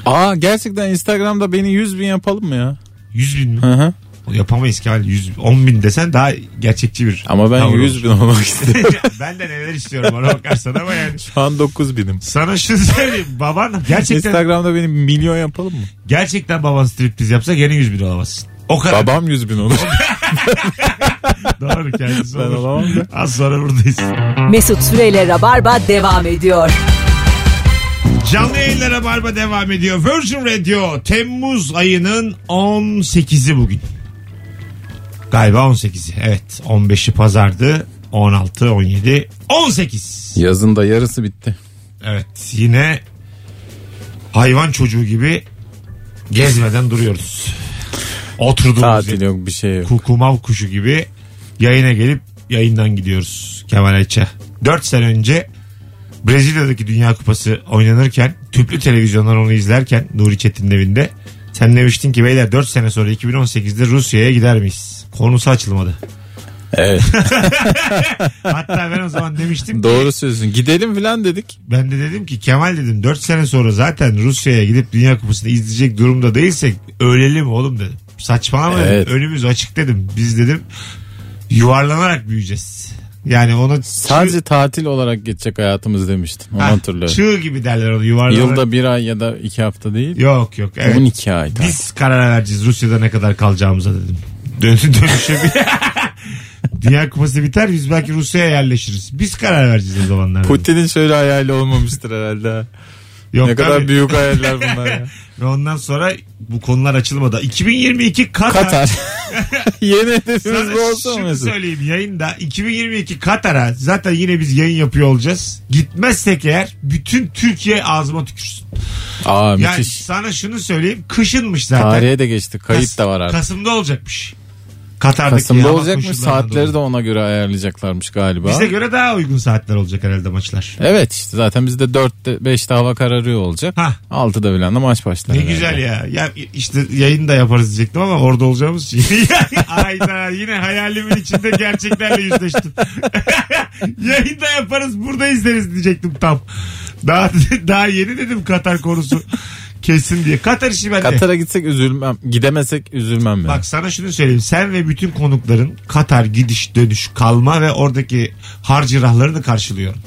Speaker 3: Aa gerçekten Instagram'da beni 100 bin yapalım mı ya?
Speaker 2: 100 bin mi?
Speaker 3: Hı hı.
Speaker 2: Yapamayız Kemal. 100, 10 bin desen daha gerçekçi bir.
Speaker 3: Ama ben
Speaker 2: tavır
Speaker 3: 100
Speaker 2: olur.
Speaker 3: bin olmak istiyorum.
Speaker 2: ben de neler istiyorum ona bakarsan ama yani.
Speaker 3: Şu an 9 binim.
Speaker 2: Sana şunu söyleyeyim. Baban gerçekten
Speaker 3: Instagram'da beni milyon yapalım mı?
Speaker 2: gerçekten baban striptiz yapsa gene 100 bin olamazsın. O kadar
Speaker 3: Babam 100 bin olur.
Speaker 2: doğru kendisi
Speaker 3: Ben
Speaker 2: olur.
Speaker 3: olamam da.
Speaker 2: Az sonra buradayız.
Speaker 1: Mesut Süreyle Rabarba devam ediyor.
Speaker 2: Canlı yayınlara barba devam ediyor. Virgin Radio Temmuz ayının 18'i bugün. Galiba 18'i. Evet 15'i pazardı. 16, 17, 18.
Speaker 3: Yazın da yarısı bitti.
Speaker 2: Evet yine hayvan çocuğu gibi gezmeden duruyoruz. Oturduğumuz
Speaker 3: Tatil
Speaker 2: yerde
Speaker 3: yok bir şey yok.
Speaker 2: kukumav kuşu gibi yayına gelip yayından gidiyoruz Kemal Ayça. 4 sene önce Brezilya'daki Dünya Kupası oynanırken tüplü televizyonlar onu izlerken Nuri Çetin'in evinde sen demiştin ki beyler 4 sene sonra 2018'de Rusya'ya gider miyiz? Konusu açılmadı.
Speaker 3: Evet.
Speaker 2: Hatta ben o zaman demiştim ki
Speaker 3: Doğru söylüyorsun. Gidelim filan dedik.
Speaker 2: Ben de dedim ki Kemal dedim 4 sene sonra zaten Rusya'ya gidip Dünya Kupası'nı izleyecek durumda değilsek ölelim oğlum dedim. Saçmalama
Speaker 3: Evet.
Speaker 2: dedim. Önümüz açık dedim. Biz dedim yuvarlanarak büyüyeceğiz. Yani ona
Speaker 3: Sadece tatil olarak geçecek hayatımız demiştin. Onu
Speaker 2: Ha,
Speaker 3: hatırlıyorum.
Speaker 2: Çığ gibi derler onu yuvarlanarak.
Speaker 3: Yılda bir ay ya da iki hafta değil.
Speaker 2: Yok yok. Evet.
Speaker 3: 12 ay tatil.
Speaker 2: Biz karar vereceğiz Rusya'da ne kadar kalacağımıza dedim. Dön dönüşe bir... Dünya Kupası biter biz belki Rusya'ya yerleşiriz. Biz karar vereceğiz o zamanlar. dedim.
Speaker 3: Putin'in şöyle hayali olmamıştır herhalde. ha.
Speaker 2: Yok
Speaker 3: ne kadar
Speaker 2: tabii.
Speaker 3: büyük hayaller bunlar ya.
Speaker 2: Ve ondan sonra bu konular açılmadı. 2022 Katar.
Speaker 3: Katar. Yeni hedefimiz bu
Speaker 2: Sana
Speaker 3: olsun
Speaker 2: şunu
Speaker 3: mu?
Speaker 2: söyleyeyim yayında 2022 Katar'a zaten yine biz yayın yapıyor olacağız. Gitmezsek eğer bütün Türkiye ağzıma tükürsün.
Speaker 3: Aa
Speaker 2: Yani
Speaker 3: müthiş.
Speaker 2: sana şunu söyleyeyim kışınmış zaten.
Speaker 3: Tarihe de geçti.
Speaker 2: Kas-
Speaker 3: Kayıt da var artık.
Speaker 2: Kasım'da olacakmış. Katar'daki
Speaker 3: Kasım'da
Speaker 2: hava
Speaker 3: olacakmış.
Speaker 2: koşullarından
Speaker 3: Saatleri
Speaker 2: dolayı.
Speaker 3: de ona göre ayarlayacaklarmış galiba.
Speaker 2: Bize göre daha uygun saatler olacak herhalde maçlar.
Speaker 3: Evet işte zaten bizde 4'te 5'te hava kararıyor olacak.
Speaker 2: Hah.
Speaker 3: 6'da falan da maç başlar.
Speaker 2: Ne
Speaker 3: herhalde.
Speaker 2: güzel ya. ya. işte yayın da yaparız diyecektim ama orada olacağımız için. Ayda yine hayalimin içinde gerçeklerle yüzleştim. yayın da yaparız burada izleriz diyecektim tam. Daha daha yeni dedim Katar konusu kesin diye. Katar işi bende.
Speaker 3: Katar'a gitsek üzülmem. Gidemesek üzülmem ya.
Speaker 2: Bak sana şunu söyleyeyim. Sen ve bütün konukların Katar gidiş dönüş kalma ve oradaki harcırahlarını karşılıyorum.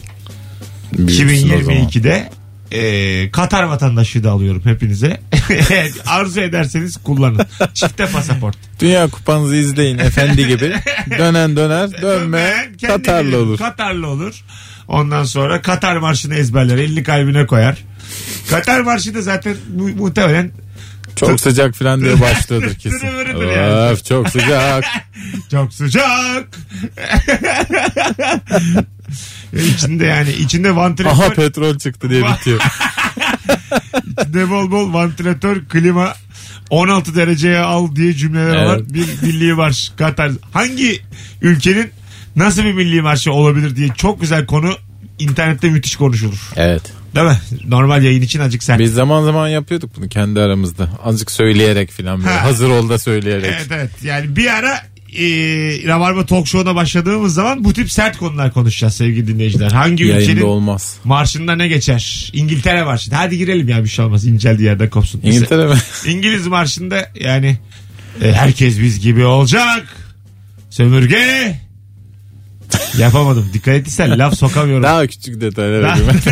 Speaker 3: Büyüksün o zaman.
Speaker 2: 2022'de e, Katar vatandaşlığı da alıyorum hepinize. Arzu ederseniz kullanın. Çifte pasaport.
Speaker 3: Dünya kupanızı izleyin efendi gibi. Dönen döner, dönme
Speaker 2: Dönmeyen kendi bilir.
Speaker 3: Katarlı olur.
Speaker 2: Katarlı olur. Ondan sonra Katar marşını ezberler. Elini kalbine koyar. Katar marşı da zaten mu- muhtemelen
Speaker 3: Çok sıcak falan diye başlıyordur kesin.
Speaker 2: Dönüveridir yani.
Speaker 3: Of çok sıcak.
Speaker 2: çok sıcak. E, içinde yani içinde
Speaker 3: Aha
Speaker 2: vantilatör,
Speaker 3: petrol çıktı diye bitiyor.
Speaker 2: içinde bol bol vantilatör, klima 16 dereceye al diye cümleler
Speaker 3: Evet.
Speaker 2: olan bir milli marş Katar. Hangi ülkenin nasıl bir milli marşı olabilir diye çok güzel konu internette müthiş konuşulur.
Speaker 3: Evet.
Speaker 2: Değil mi? Normal yayın için acık sen.
Speaker 3: Biz zaman zaman yapıyorduk bunu kendi aramızda. Azıcık söyleyerek falan böyle.
Speaker 2: Ha.
Speaker 3: Hazır ol da söyleyerek.
Speaker 2: Evet evet. Yani bir ara e, Rabarba Talk Show'una başladığımız zaman bu tip sert konular konuşacağız sevgili dinleyiciler. Hangi
Speaker 3: Yayında
Speaker 2: ülkenin
Speaker 3: olmaz.
Speaker 2: marşında ne geçer? İngiltere marşı. Hadi girelim ya bir şey olmaz. İnceldiği yerden kopsun. Neyse.
Speaker 3: İngiltere mi?
Speaker 2: İngiliz marşında yani e, herkes biz gibi olacak. Sömürge. Yapamadım. Dikkat etsen laf sokamıyorum.
Speaker 3: Daha küçük detaylara
Speaker 2: Daha-
Speaker 3: girmez.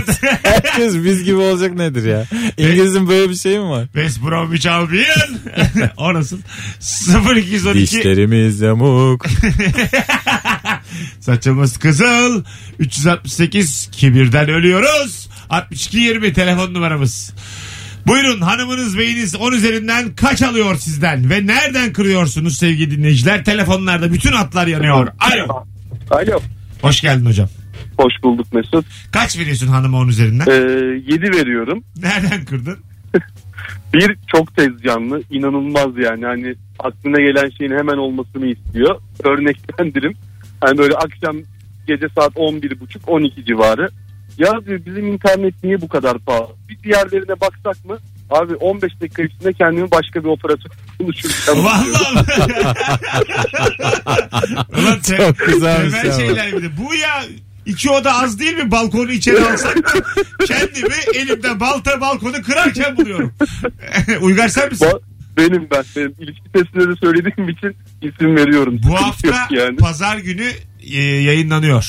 Speaker 3: Herkes biz gibi olacak nedir ya?
Speaker 2: E-
Speaker 3: İngiliz'in böyle bir şeyi mi var?
Speaker 2: West Bromwich Albion. Orasın. 0212
Speaker 3: Dişlerimiz yamuk.
Speaker 2: saçımız kızıl. 368 kibirden ölüyoruz. 62 20 telefon numaramız. Buyurun hanımınız beyiniz 10 üzerinden kaç alıyor sizden ve nereden kırıyorsunuz sevgili dinleyiciler? Telefonlarda bütün hatlar yanıyor. Alo.
Speaker 10: Alo.
Speaker 2: Hoş geldin hocam.
Speaker 10: Hoş bulduk Mesut.
Speaker 2: Kaç veriyorsun hanıma 10 üzerinden?
Speaker 10: Ee, 7 veriyorum.
Speaker 2: Nereden kırdın?
Speaker 10: Bir çok tez canlı. inanılmaz yani. Hani aklına gelen şeyin hemen olmasını istiyor. Örneklendirim. Hani böyle akşam gece saat 11.30-12 civarı. Ya diyor bizim internet niye bu kadar pahalı? Bir diğerlerine baksak mı? Abi 15 dakika içinde kendimi başka bir operatör buluşurken
Speaker 2: Vallahi. Ulan te-
Speaker 3: Çok güzelmiş
Speaker 2: temel
Speaker 3: ya.
Speaker 2: şeyler bir şey. de. Bu ya iki oda az değil mi? Balkonu içeri alsak kendimi elimde balta balkonu kırarken buluyorum. Uygar sen misin?
Speaker 10: Ba- benim ben benim ilişki testinde de söylediğim için isim veriyorum.
Speaker 2: Bu
Speaker 10: Sıkıntı
Speaker 2: hafta
Speaker 10: yok yani.
Speaker 2: pazar günü e, yayınlanıyor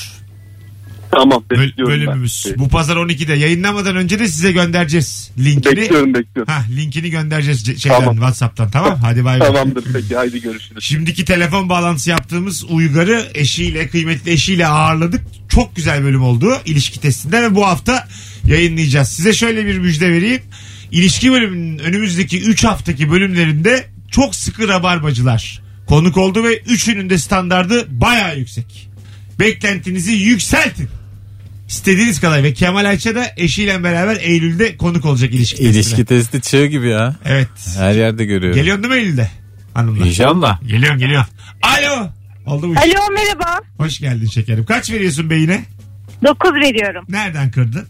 Speaker 10: tamam
Speaker 2: böl-
Speaker 10: bekliyorum
Speaker 2: bölümümüz.
Speaker 10: ben.
Speaker 2: Bu pazar 12'de yayınlamadan önce de size göndereceğiz linkini.
Speaker 10: Bekliyorum bekliyorum.
Speaker 2: Ha linkini göndereceğiz ce- şeyden
Speaker 10: Tamam.
Speaker 2: WhatsApp'tan tamam? Hadi bay bay.
Speaker 10: Tamamdır peki haydi görüşürüz.
Speaker 2: Şimdiki telefon bağlantısı yaptığımız Uygar'ı eşiyle, kıymetli eşiyle ağırladık. Çok güzel bölüm oldu ilişki testinden ve bu hafta yayınlayacağız. Size şöyle bir müjde vereyim. İlişki bölümünün önümüzdeki 3 haftaki bölümlerinde çok sıkı rabarbacılar konuk oldu ve üçünün de standardı baya yüksek. Beklentinizi yükseltin. İstediğiniz kadar ve Kemal Ayça da eşiyle beraber Eylül'de konuk olacak ilişki, testine.
Speaker 3: İlişki testi çığ gibi ya.
Speaker 2: Evet.
Speaker 3: Her yerde görüyorum.
Speaker 2: Geliyorsun değil mi Eylül'de? Hanımlar.
Speaker 3: İnşallah.
Speaker 2: Geliyorum geliyorum. Alo. Oldu mu?
Speaker 6: Alo merhaba.
Speaker 2: Hoş geldin şekerim. Kaç veriyorsun beyine?
Speaker 6: 9 veriyorum.
Speaker 2: Nereden kırdın?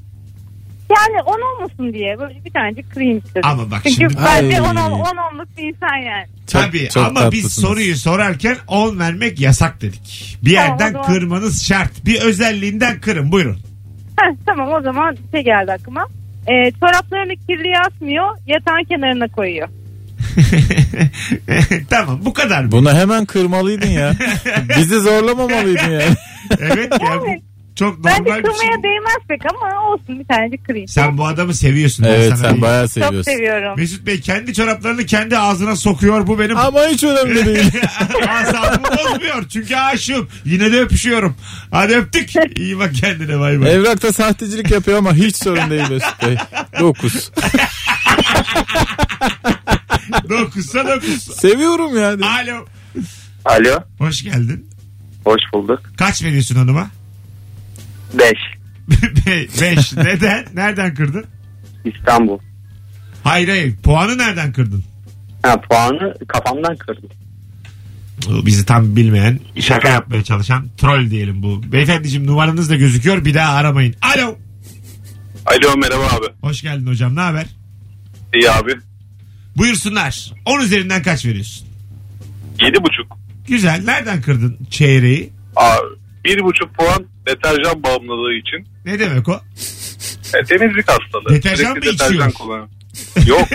Speaker 6: Yani 10 olmasın diye böyle bir tanecik kırayım istedim.
Speaker 2: Ama bak
Speaker 6: Çünkü
Speaker 2: şimdi.
Speaker 6: ben de
Speaker 3: Ay.
Speaker 6: 10 onluk bir insan yani.
Speaker 3: Çok,
Speaker 2: Tabii
Speaker 3: çok
Speaker 2: ama biz
Speaker 3: tatlısınız.
Speaker 2: soruyu sorarken 10 vermek yasak dedik. Bir
Speaker 6: Tamam,
Speaker 2: yerden
Speaker 6: o zaman.
Speaker 2: kırmanız şart. Bir özelliğinden kırın buyurun.
Speaker 6: Heh, tamam o zaman şey geldi aklıma. Ee, çoraplarını kirliye atmıyor yatağın kenarına koyuyor.
Speaker 2: tamam bu kadar mı?
Speaker 3: Bunu hemen kırmalıydın ya. Bizi zorlamamalıydın ya.
Speaker 2: Evet ya bu
Speaker 6: Evet.
Speaker 2: çok normal
Speaker 6: Bence
Speaker 2: bir şey.
Speaker 6: kırmaya değmez pek ama olsun bir tanecik kırayım.
Speaker 2: Sen bu adamı seviyorsun. ben
Speaker 3: evet
Speaker 2: sana
Speaker 3: sen
Speaker 2: diyeyim.
Speaker 3: bayağı
Speaker 6: Çok
Speaker 3: seviyorsun.
Speaker 6: seviyorum.
Speaker 2: Mesut Bey kendi çoraplarını kendi ağzına sokuyor. Bu benim
Speaker 3: Ama hiç önemli değil.
Speaker 2: Asabımı bozmuyor çünkü aşığım. Yine de öpüşüyorum. Hadi öptük. İyi bak kendine bay bay.
Speaker 3: Evrakta sahtecilik yapıyor ama hiç sorun değil Mesut Bey. 9.
Speaker 2: Dokuzsa dokuz.
Speaker 3: Seviyorum yani.
Speaker 2: Alo.
Speaker 10: Alo
Speaker 2: Hoş geldin.
Speaker 10: hoş bulduk.
Speaker 2: Kaç veriyorsun hanıma?
Speaker 10: 5
Speaker 2: Be- Beş. Neden? Nereden kırdın?
Speaker 10: İstanbul.
Speaker 2: Hayır hayır. Puanı nereden kırdın?
Speaker 10: Ha, puanı kafamdan kırdım.
Speaker 2: Bu Bizi tam bilmeyen, şaka yapmaya çalışan troll diyelim bu. Beyefendiciğim numaranız da gözüküyor. Bir daha aramayın. Alo.
Speaker 10: Alo merhaba abi.
Speaker 2: Hoş geldin hocam. Ne haber?
Speaker 10: İyi abi.
Speaker 2: Buyursunlar. 10 üzerinden kaç veriyorsun?
Speaker 10: Yedi buçuk.
Speaker 2: Güzel. Nereden kırdın çeyreği?
Speaker 10: Abi, bir buçuk puan deterjan bağımlılığı için.
Speaker 2: Ne demek o?
Speaker 10: E, temizlik hastalığı.
Speaker 2: Deterjan
Speaker 10: Sürekli
Speaker 2: mı içiyor?
Speaker 10: kullanıyor. Yok.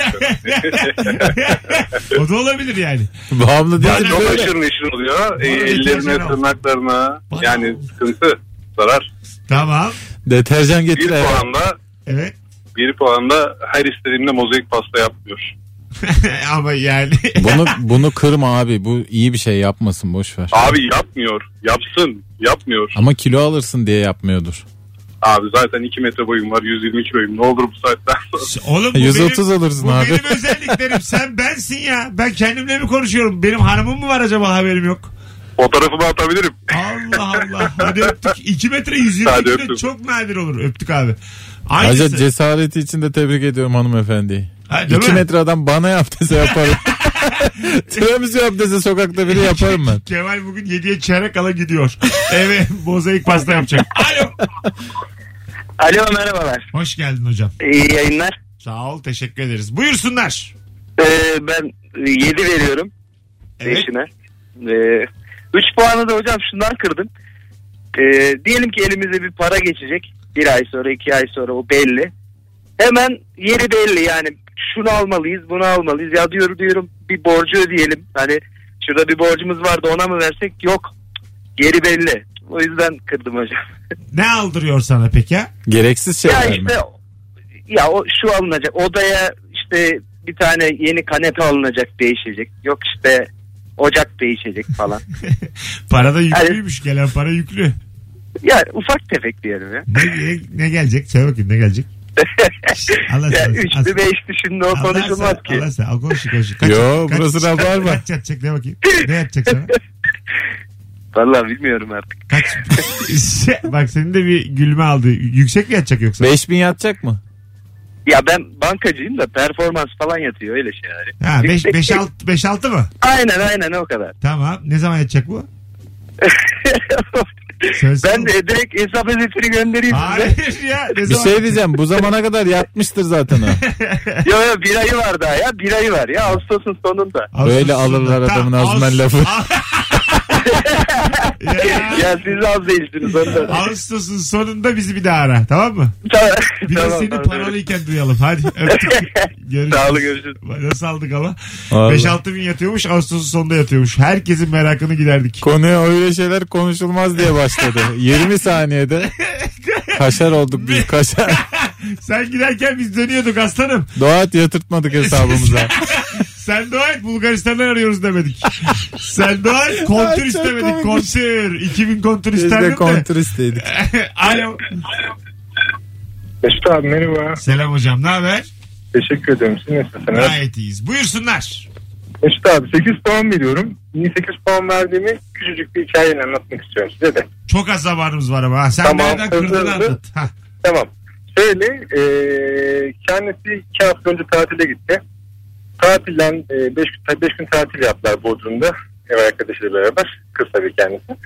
Speaker 2: o da olabilir yani.
Speaker 3: Bağımlı
Speaker 10: yani
Speaker 3: değil
Speaker 10: çok
Speaker 3: böyle.
Speaker 10: aşırı neşir oluyor. E,
Speaker 2: Bana
Speaker 10: ellerine,
Speaker 2: deterjan al.
Speaker 10: tırnaklarına.
Speaker 2: Bana
Speaker 10: yani
Speaker 2: al.
Speaker 10: sıkıntı. Zarar.
Speaker 2: Tamam.
Speaker 3: Deterjan
Speaker 10: Bir
Speaker 3: getir eve.
Speaker 10: puanda
Speaker 2: Evet.
Speaker 10: bir puanda her istediğimde mozaik pasta yapmıyor.
Speaker 2: Ama yani.
Speaker 3: Bunu bunu kırma abi. Bu iyi bir şey yapmasın boş ver.
Speaker 10: Abi yapmıyor. Yapsın. Yapmıyor.
Speaker 3: Ama kilo alırsın diye yapmıyordur.
Speaker 10: Abi zaten 2 metre boyum var. 120 kiloyum. Ne olur bu saatten sonra.
Speaker 2: Oğlum bu
Speaker 3: 130
Speaker 2: benim,
Speaker 3: alırsın
Speaker 2: bu
Speaker 3: abi.
Speaker 2: benim özelliklerim. Sen bensin ya. Ben kendimle mi konuşuyorum? Benim hanımım mı var acaba haberim yok?
Speaker 10: Fotoğrafımı atabilirim.
Speaker 2: Allah Allah. Hadi öptük. 2 metre 120
Speaker 10: Hadi
Speaker 2: kilo
Speaker 10: öptüm.
Speaker 2: çok nadir olur. Öptük abi. Aynısı.
Speaker 3: Ayrıca cesareti için de tebrik ediyorum hanımefendiyi.
Speaker 2: Ha, değil
Speaker 3: 2
Speaker 2: mi?
Speaker 3: metre adam bana yap dese yaparım. Tiramisu yap dese sokakta biri yaparım ben.
Speaker 2: Kemal bugün 7'ye çeyrek ala gidiyor. Eve mozaik pasta yapacak. Alo.
Speaker 10: Alo merhabalar.
Speaker 2: Hoş geldin hocam.
Speaker 10: İyi yayınlar.
Speaker 2: Sağ ol. Teşekkür ederiz. Buyursunlar.
Speaker 10: ben 7 veriyorum
Speaker 2: Evet.
Speaker 10: eşine. Ee,
Speaker 11: 3 puanı da hocam şundan kırdım. Ee, diyelim ki elimize bir para geçecek. Bir ay sonra iki ay sonra o belli. Hemen yeri belli yani şunu almalıyız bunu almalıyız. Ya diyorum diyorum bir borcu ödeyelim. Hani şurada bir borcumuz vardı ona mı versek yok. Geri belli. O yüzden kırdım hocam.
Speaker 2: Ne aldırıyor sana peki? ha?
Speaker 3: Gereksiz
Speaker 11: ya işte ya o şu alınacak odaya işte bir tane yeni kanepe alınacak değişecek. Yok işte ocak değişecek falan.
Speaker 2: Para da yüklüymüş. Gelen para yüklü.
Speaker 11: ya ufak tefek diyelim ya.
Speaker 2: Ne, ne, ne gelecek? Söyle bakayım ne gelecek? Allah
Speaker 11: ya
Speaker 2: sana-
Speaker 11: üçlü beşli şimdi o
Speaker 2: Allah
Speaker 11: konuşulmaz
Speaker 2: sana-
Speaker 11: ki.
Speaker 2: Allah sana. Al konuşun konuşun.
Speaker 3: Yo, burası rabarba.
Speaker 2: Kaç yatacak ne bakayım? Ne yatacak sana?
Speaker 11: Vallahi bilmiyorum artık.
Speaker 2: Kaç? Şey, Bak senin de bir gülme aldı. Yüksek mi yatacak yoksa?
Speaker 3: 5000 yatacak mı?
Speaker 11: Ya ben bankacıyım da performans falan yatıyor öyle şey yani.
Speaker 2: Ha 5
Speaker 11: Yüksek-
Speaker 2: 5 6 5 6 mı?
Speaker 11: Aynen aynen o kadar.
Speaker 2: Tamam. Ne zaman yatacak bu? Söylesene.
Speaker 11: ben de direkt hesap özetini göndereyim size.
Speaker 2: Hayır ya. Ne
Speaker 3: Bir
Speaker 2: zaman?
Speaker 3: şey diyeceğim bu zamana kadar yatmıştır zaten o.
Speaker 11: Yo yo bir ayı var daha ya bir ayı var ya Ağustos'un sonunda.
Speaker 2: Ağustos
Speaker 3: Böyle
Speaker 2: sonunda.
Speaker 3: alırlar adamın
Speaker 2: Tamam,
Speaker 3: ağzından
Speaker 2: Ağustos-
Speaker 3: lafı.
Speaker 2: Ya,
Speaker 11: ya siz az değilsiniz onda.
Speaker 2: Ağustos'un sonunda bizi bir daha ara. Tamam mı?
Speaker 11: tamam,
Speaker 2: Bir de
Speaker 11: tamam,
Speaker 2: seni
Speaker 11: tamam.
Speaker 2: paralıyken duyalım. Hadi öptük. Görüşürüz.
Speaker 11: Sağ olun, görüşürüz.
Speaker 2: Nasıl aldık ama?
Speaker 3: Vallahi.
Speaker 2: 5-6 bin yatıyormuş. Ağustos'un sonunda yatıyormuş. Herkesin merakını giderdik.
Speaker 3: Konuya öyle şeyler konuşulmaz diye başladı. 20 saniyede kaşar olduk biz kaşar.
Speaker 2: Sen giderken biz dönüyorduk aslanım.
Speaker 3: Doğat yatırtmadık hesabımıza.
Speaker 2: Sen dua et Bulgaristan'dan arıyoruz demedik. Sen dua et kontür
Speaker 3: Ay, çok
Speaker 2: istemedik.
Speaker 3: komikmiş.
Speaker 2: Kontür. 2000 kontür
Speaker 3: biz de
Speaker 2: isterdim de.
Speaker 3: kontristeydik.
Speaker 2: Alo.
Speaker 12: Mesut abi merhaba.
Speaker 2: Selam hocam ne haber?
Speaker 12: Teşekkür ederim. Siz nasılsınız?
Speaker 2: Gayet iyiyiz. Buyursunlar.
Speaker 12: Mesut abi 8 puan veriyorum. Niye 8 puan verdiğimi küçücük bir hikayeyle anlatmak istiyorum size de.
Speaker 2: Çok az zamanımız var ama. ha. Sen
Speaker 12: Tamam,
Speaker 2: nereden kırdığını
Speaker 12: hızlı hızlı.
Speaker 2: anlat. Ha.
Speaker 12: Tamam. Şöyle e, eee, kendisi iki hafta önce tatile gitti. Tatilden 5 gün, beş gün tatil yaptılar Bodrum'da. Ev arkadaşıyla beraber. Kız tabii kendisi.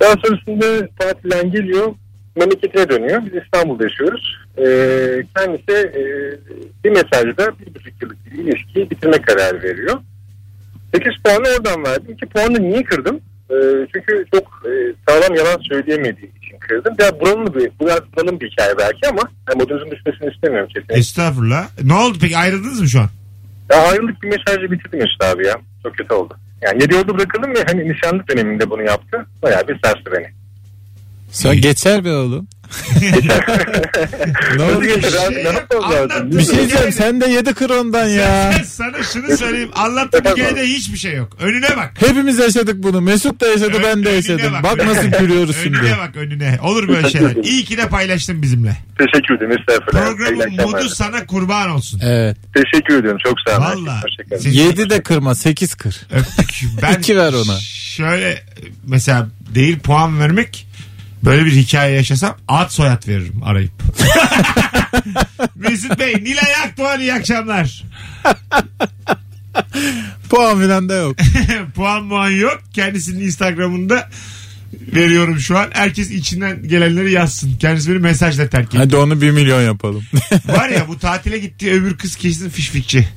Speaker 12: Daha sonrasında tatilden geliyor. Memleketine dönüyor. Biz İstanbul'da yaşıyoruz. Eee, kendisi eee, bir mesajda bir buçuk yıllık bir ilişkiyi bitirme kararı veriyor. 8 puanı oradan verdim. 2 puanı niye kırdım? Ee, çünkü çok e, sağlam yalan söyleyemediği için kırdım. Ya buranın bir, biraz buranın bir hikaye belki ama yani modunuzun düşmesini istemiyorum kesinlikle.
Speaker 2: Estağfurullah. Ne oldu peki ayrıldınız mı şu an?
Speaker 12: Ya ayrılık bir mesajla bitirdim işte abi ya. Çok kötü oldu. Yani 7 yolda bırakalım ve hani nişanlık döneminde bunu yaptı. Bayağı bir sarstı beni.
Speaker 3: Sonra geçer be oğlum. ne oldu?
Speaker 12: Nasıl geçer abi? Ne yapalım lazım?
Speaker 2: Anlattın.
Speaker 3: Bir şey diyeceğim sen de yedi kır ondan ya.
Speaker 2: Ben sana şunu söyleyeyim. Anlattığım hikayede hiçbir şey yok. Önüne bak.
Speaker 3: Hepimiz yaşadık bunu. Mesut da yaşadı
Speaker 2: Ön-
Speaker 3: ben de
Speaker 2: önüne
Speaker 3: yaşadım.
Speaker 2: bak.
Speaker 3: Bak nasıl gülüyoruz
Speaker 2: Önüne
Speaker 3: şimdi.
Speaker 2: bak önüne. Olur böyle şeyler. İyi ki de paylaştın bizimle.
Speaker 12: Teşekkür ederim. Estağfurullah.
Speaker 2: Programın
Speaker 12: İyi akşamlar.
Speaker 2: modu sana kurban olsun.
Speaker 3: Evet.
Speaker 12: Teşekkür ediyorum. Çok sağ olun.
Speaker 2: Valla.
Speaker 12: Hoşçakalın.
Speaker 2: Seni
Speaker 3: 7 de kırma 8 kır.
Speaker 2: Öptük. Ben
Speaker 3: İki ver ona.
Speaker 2: Şöyle mesela değil puan vermek böyle bir hikaye yaşasam ad soyad veririm arayıp. Mesut Bey, Nilay Akdoğan iyi akşamlar.
Speaker 3: Puan filan da yok.
Speaker 2: puan muan yok. Kendisinin Instagram'ında veriyorum şu an. Herkes içinden gelenleri yazsın. Kendisi beni mesajla terk etti.
Speaker 3: Hadi onu 1 milyon yapalım.
Speaker 2: Var ya bu tatile gittiği öbür kız kesin fişfikçi.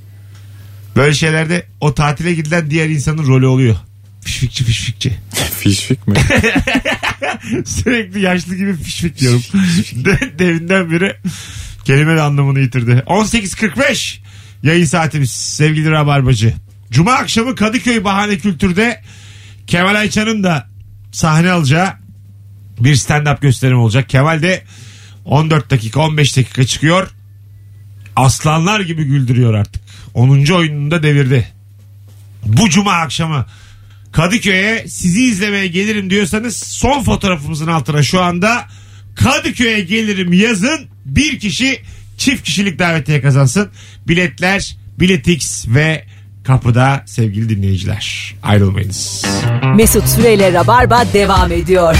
Speaker 2: Böyle şeylerde o tatile gidilen diğer insanın rolü oluyor. Fişfikçi fişfikçi.
Speaker 3: Fişfik mi?
Speaker 2: Sürekli yaşlı gibi fişfik diyorum. De- Devinden beri kelime de anlamını yitirdi. 18.45 yayın saatimiz sevgili Rabarbacı. Cuma akşamı Kadıköy Bahane Kültür'de Kemal Ayça'nın da sahne alacağı bir stand-up gösterim olacak. Kemal de 14 dakika 15 dakika çıkıyor. Aslanlar gibi güldürüyor artık. 10. oyununda devirdi. Bu cuma akşamı Kadıköy'e sizi izlemeye gelirim diyorsanız son fotoğrafımızın altına şu anda Kadıköy'e gelirim yazın. Bir kişi çift kişilik davetiye kazansın. Biletler, biletix ve kapıda sevgili dinleyiciler. Ayrılmayınız.
Speaker 1: Mesut Süreyle Rabarba devam ediyor.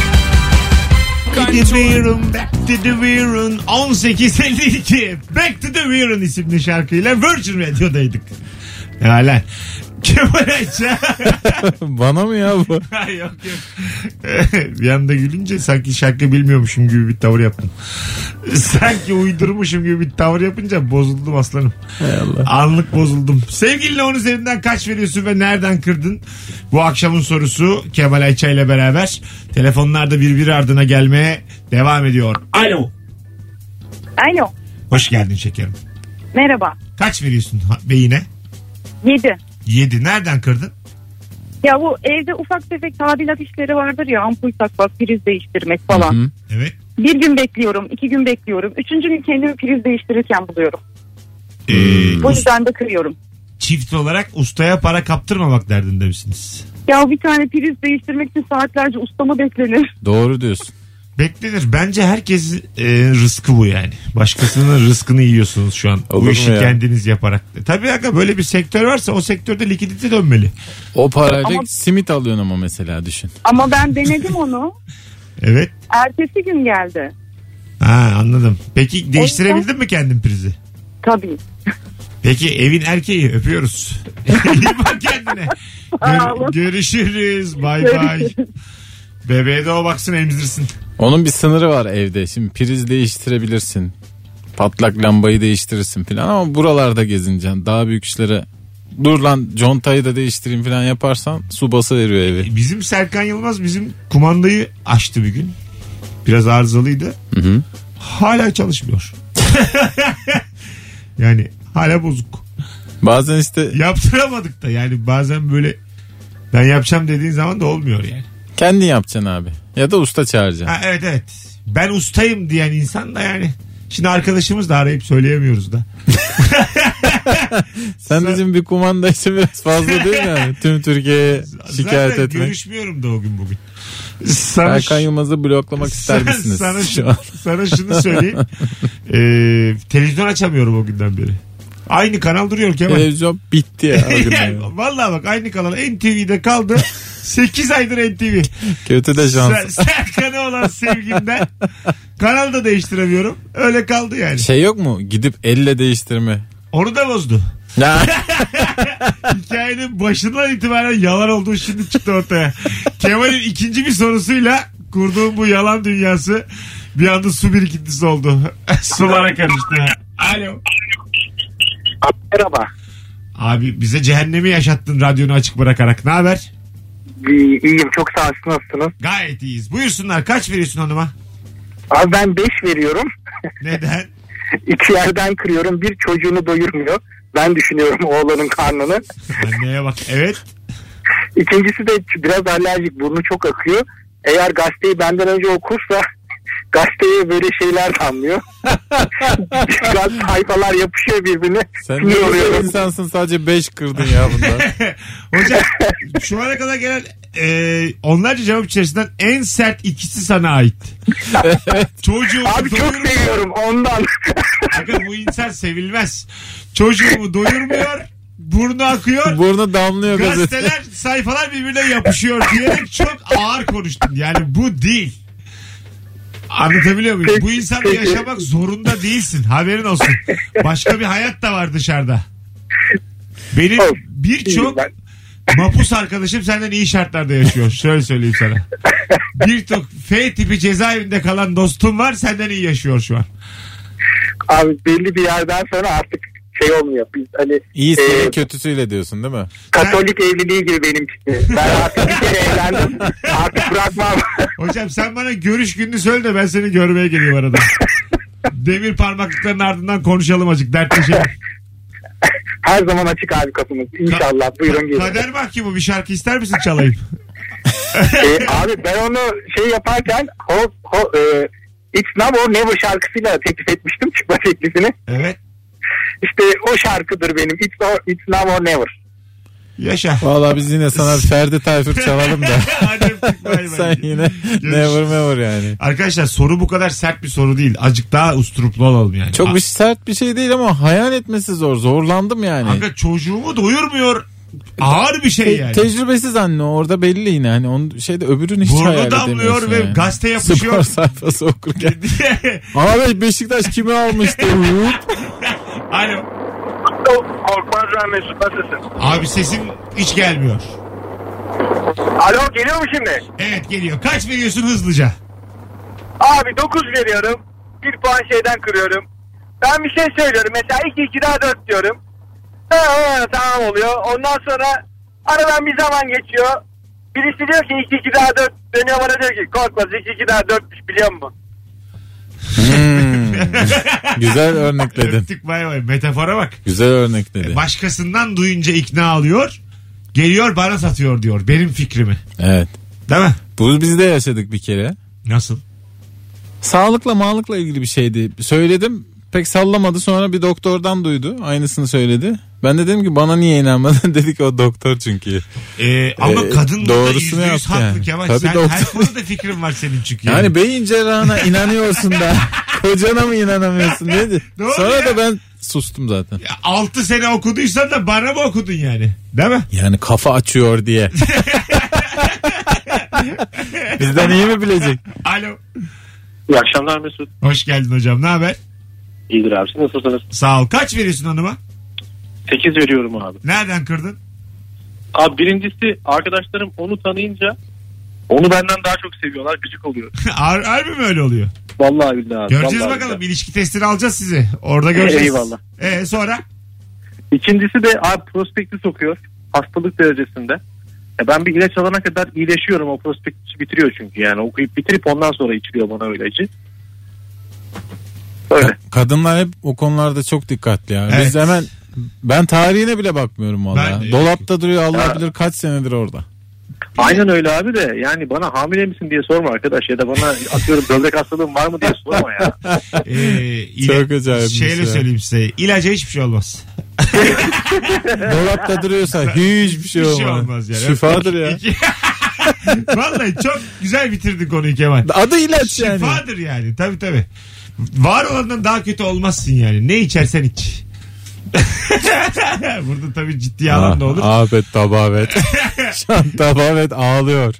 Speaker 2: Kaçıyorum Back to the Viren 1852 Back to the Viren isimli şarkıyla Virgin Radio'daydık. Halen. Kemal'e
Speaker 3: Bana mı ya bu?
Speaker 2: yok yok. bir anda gülünce sanki şarkı bilmiyormuşum gibi bir tavır yaptım. sanki uydurmuşum gibi bir tavır yapınca bozuldum aslanım. Anlık bozuldum. Sevgiline onun üzerinden kaç veriyorsun ve nereden kırdın? Bu akşamın sorusu Kemal Ayça ile beraber. Telefonlarda birbiri ardına gelmeye devam ediyor. Alo.
Speaker 13: Alo.
Speaker 2: Hoş geldin şekerim.
Speaker 13: Merhaba.
Speaker 2: Kaç veriyorsun ha- beyine?
Speaker 13: 7.
Speaker 2: 7. Nereden kırdın?
Speaker 13: Ya bu evde ufak tefek tadilat işleri vardır ya ampul takmak, priz değiştirmek falan.
Speaker 2: Evet.
Speaker 13: Bir gün bekliyorum, iki gün bekliyorum. Üçüncü gün kendimi priz değiştirirken buluyorum.
Speaker 2: Ee,
Speaker 13: O yüzden de kırıyorum.
Speaker 2: çift olarak ustaya para kaptırmamak derdinde misiniz?
Speaker 13: Ya bir tane priz değiştirmek için saatlerce ustama beklenir.
Speaker 2: Doğru diyorsun. Beklenir. Bence herkes e, rızkı bu yani. Başkasının rızkını yiyorsunuz şu an. bu
Speaker 3: Olur mu
Speaker 2: işi
Speaker 3: ya?
Speaker 2: kendiniz yaparak. E, Tabii aga böyle bir sektör varsa o sektörde likidite dönmeli.
Speaker 3: O parayla
Speaker 13: Ama-
Speaker 3: simit alıyorsun ama mesela düşün.
Speaker 13: Ama ben denedim onu.
Speaker 2: Evet.
Speaker 13: Ertesi gün geldi.
Speaker 2: Ha anladım. Peki değiştirebildin mi kendin prizi?
Speaker 13: Tabii.
Speaker 2: Peki evin erkeği öpüyoruz. İyi bak kendine. Gör- görüşürüz. Bay bay. Bebeğe de o baksın emzirsin.
Speaker 3: Onun bir sınırı var evde. Şimdi priz değiştirebilirsin. Patlak lambayı değiştirirsin falan ama buralarda gezineceksin. Daha büyük işlere dur lan contayı da değiştireyim falan yaparsan su bası veriyor evi.
Speaker 2: Bizim Serkan Yılmaz bizim kumandayı açtı bir gün. Biraz arızalıydı. Hala çalışmıyor. yani hala bozuk.
Speaker 3: Bazen işte
Speaker 2: yaptıramadık da yani bazen böyle ben yapacağım dediğin zaman da olmuyor yani.
Speaker 3: Kendin yapacaksın abi. Ya da usta çağıracaksın.
Speaker 2: Ha, evet evet. Ben ustayım diyen insan da yani. Şimdi arkadaşımız da arayıp söyleyemiyoruz da.
Speaker 3: Sen bizim bir kumanda için biraz fazla değil mi? yani? Tüm Türkiye'ye şikayet
Speaker 2: Zaten
Speaker 3: etmek.
Speaker 2: görüşmüyorum da o gün bugün.
Speaker 3: Serkan Yılmaz'ı bloklamak ister
Speaker 2: Sen-
Speaker 3: misiniz?
Speaker 2: Sana,
Speaker 3: şu an?
Speaker 2: sana şunu söyleyeyim. Ee, televizyon açamıyorum o günden beri. Aynı kanal duruyor Kemal.
Speaker 3: Televizyon bitti ya. o günden
Speaker 2: Yani
Speaker 3: ya.
Speaker 2: Vallahi bak aynı kanal NTV'de kaldı. 8 aydır NTV.
Speaker 3: Kötü de
Speaker 2: Ser,
Speaker 3: şans.
Speaker 2: Serkan'a olan sevgimden kanal da değiştiremiyorum. Öyle kaldı yani.
Speaker 3: Şey yok mu? Gidip elle değiştirme.
Speaker 2: Onu da bozdu.
Speaker 3: Ya.
Speaker 2: Hikayenin başından itibaren yalan olduğu şimdi çıktı ortaya. Kemal'in ikinci bir sorusuyla kurduğum bu yalan dünyası bir anda su birikintisi oldu. Sulara karıştı. Alo.
Speaker 12: Merhaba.
Speaker 2: Abi bize cehennemi yaşattın radyonu açık bırakarak. Ne haber?
Speaker 12: İyiyim çok sağ olsun nasılsınız?
Speaker 2: Gayet iyiyiz. Buyursunlar kaç veriyorsun hanıma?
Speaker 12: Abi ben 5 veriyorum.
Speaker 2: Neden?
Speaker 12: İki yerden kırıyorum. Bir çocuğunu doyurmuyor. Ben düşünüyorum oğlanın karnını.
Speaker 2: Anneye bak evet.
Speaker 12: İkincisi de biraz alerjik. Burnu çok akıyor. Eğer gazeteyi benden önce okursa gazeteye böyle şeyler damlıyor. Gaz sayfalar yapışıyor birbirine.
Speaker 3: Sen ne
Speaker 12: Sinir
Speaker 3: güzel
Speaker 12: oluyorum.
Speaker 3: insansın sadece 5 kırdın ya bundan.
Speaker 2: Hocam şu ana kadar gelen e, onlarca cevap içerisinden en sert ikisi sana ait. Çocuğumu
Speaker 12: Abi çok seviyorum ondan.
Speaker 2: Bakın bu insan sevilmez. Çocuğumu doyurmuyor. Burnu akıyor.
Speaker 3: Burnu damlıyor gazete.
Speaker 2: Gazeteler sayfalar birbirine yapışıyor diyerek çok ağır konuştun. Yani bu değil. Anlatabiliyor muyum? Bu insanla yaşamak zorunda değilsin. Haberin olsun. Başka bir hayat da var dışarıda. Benim birçok mapus arkadaşım senden iyi şartlarda yaşıyor. Şöyle söyleyeyim sana. Birçok F tipi cezaevinde kalan dostum var senden iyi yaşıyor şu an.
Speaker 12: Abi belli bir yerden sonra artık şey olmuyor. Biz hani
Speaker 3: İyisiyle
Speaker 12: e,
Speaker 3: kötüsüyle diyorsun değil mi?
Speaker 12: Katolik evliliği gibi benimkisi. Ben artık bir kere evlendim. Artık bırakmam.
Speaker 2: Hocam sen bana görüş gününü söyle de ben seni görmeye geliyorum arada. Demir parmaklıkların ardından konuşalım azıcık dertleşelim.
Speaker 12: Her zaman açık abi kapımız. İnşallah. Buyurun gelin.
Speaker 2: Kader mahkumu bir şarkı ister misin çalayım?
Speaker 12: E, abi ben onu şey yaparken ho, ho, e, It's Now or Never şarkısıyla teklif etmiştim çıkma teklifini.
Speaker 2: Evet.
Speaker 12: İşte o şarkıdır benim. It's, or, it's Now or Never.
Speaker 2: Yaşa.
Speaker 3: Valla biz yine sana Ferdi Tayfur çalalım da. Sen yine never mever yani.
Speaker 2: Arkadaşlar soru bu kadar sert bir soru değil. Azıcık daha usturuplu olalım yani.
Speaker 3: Çok bir sert bir şey değil ama hayal etmesi zor. Zorlandım yani.
Speaker 2: Kanka çocuğumu doyurmuyor. Ağır bir şey
Speaker 3: Te-
Speaker 2: yani.
Speaker 3: Tecrübesiz anne orada belli yine. Hani onun şeyde öbürünü hiç
Speaker 2: Burnu
Speaker 3: hayal
Speaker 2: damlıyor
Speaker 3: edemiyorsun
Speaker 2: ve
Speaker 3: yani.
Speaker 2: gazete yapışıyor.
Speaker 3: Spor sayfası Hmm. okurken. Abi Beşiktaş kimi almıştı? Hop.
Speaker 2: Alo.
Speaker 5: Korkmaz ben Mesut nasılsın?
Speaker 2: Abi sesin hiç gelmiyor.
Speaker 5: Alo geliyor mu şimdi?
Speaker 2: Evet geliyor. Kaç veriyorsun hızlıca?
Speaker 5: Abi 9 veriyorum. Bir puan şeyden kırıyorum. Ben bir şey söylüyorum. Mesela 2 2 daha 4 diyorum. Ha, ha, tamam oluyor. Ondan sonra aradan bir zaman geçiyor. Birisi diyor ki 2 2 daha 4 dönüyor bana diyor ki korkmaz 2 2 daha 4'müş biliyor musun?
Speaker 3: Güzel örnekledin.
Speaker 2: Öptük bay bay. Metafora bak.
Speaker 3: Güzel örnekledin.
Speaker 2: Başkasından duyunca ikna alıyor. Geliyor bana satıyor diyor. Benim fikrimi.
Speaker 3: Evet.
Speaker 2: Değil mi?
Speaker 3: Bunu biz de yaşadık bir kere.
Speaker 2: Nasıl?
Speaker 3: Sağlıkla mağlıkla ilgili bir şeydi. Söyledim pek sallamadı sonra bir doktordan duydu. Aynısını söyledi. Ben de dedim ki bana niye inanmadın dedik o doktor çünkü.
Speaker 2: Ama
Speaker 3: Ee,
Speaker 2: kadın burada
Speaker 3: doğrusunu
Speaker 2: yüzde yüz
Speaker 3: yaptı
Speaker 2: haklı
Speaker 3: yani.
Speaker 2: Kemal.
Speaker 3: Tabii
Speaker 2: Sen
Speaker 3: doktor.
Speaker 2: her konuda fikrin var senin çünkü.
Speaker 3: Yani, beyin cerrahına inanıyorsun da kocana mı inanamıyorsun dedi.
Speaker 2: Doğru
Speaker 3: Sonra
Speaker 2: ya.
Speaker 3: da ben sustum zaten.
Speaker 2: 6 sene okuduysan da bana mı okudun yani? Değil mi?
Speaker 3: Yani kafa açıyor diye. Bizden iyi mi bilecek?
Speaker 2: Alo.
Speaker 4: İyi akşamlar Mesut.
Speaker 2: Hoş geldin hocam. Ne haber?
Speaker 4: İyidir abi. Siz Nasılsınız?
Speaker 2: Sağ ol. Kaç veriyorsun hanıma?
Speaker 4: 8 veriyorum abi.
Speaker 2: Nereden kırdın?
Speaker 4: Abi birincisi arkadaşlarım onu tanıyınca onu benden daha çok seviyorlar. Gıcık oluyor.
Speaker 2: Har- Harbi mi öyle oluyor?
Speaker 4: Vallahi billahi abi.
Speaker 2: Göreceğiz
Speaker 4: vallahi
Speaker 2: bakalım.
Speaker 4: billahi.
Speaker 2: İlişki testini alacağız sizi. Orada göreceğiz.
Speaker 4: Eyvallah.
Speaker 2: Ee, sonra?
Speaker 4: İkincisi de abi prospekti sokuyor. Hastalık derecesinde. Ya ben bir ilaç alana kadar iyileşiyorum. O prospekti bitiriyor çünkü yani. Okuyup bitirip ondan sonra içiliyor bana o ilacı.
Speaker 3: Kadınlar hep o konularda çok dikkatli ya.
Speaker 2: Evet.
Speaker 3: Biz hemen ben tarihine bile bakmıyorum
Speaker 2: Ben
Speaker 3: valla.
Speaker 2: de.
Speaker 3: Dolapta duruyor Allah
Speaker 4: Ya.
Speaker 3: bilir kaç senedir orada.
Speaker 4: Aynen öyle abi de yani bana hamile misin diye sorma arkadaş ya da bana atıyorum böbrek hastalığım var mı diye sorma ya.
Speaker 2: Ee, ile-
Speaker 3: Çok acayip bir
Speaker 2: Şeyle
Speaker 3: şey.
Speaker 2: söyleyeyim size. İlaca hiçbir şey olmaz.
Speaker 3: Dolapta duruyorsa hiçbir
Speaker 2: Hiçbir
Speaker 3: şey olmaz.
Speaker 2: şey olmaz yani.
Speaker 3: Şifadır ya.
Speaker 2: Vallahi çok güzel bitirdin konuyu Kemal.
Speaker 3: Adı ilaç yani.
Speaker 2: Şifadır yani. Tabii tabii. Var olandan daha kötü olmazsın yani. Ne içersen iç. Burada tabii ciddi alan da olur.
Speaker 3: Ah, Ahmet Tabavet. Şan Tabavet ağlıyor.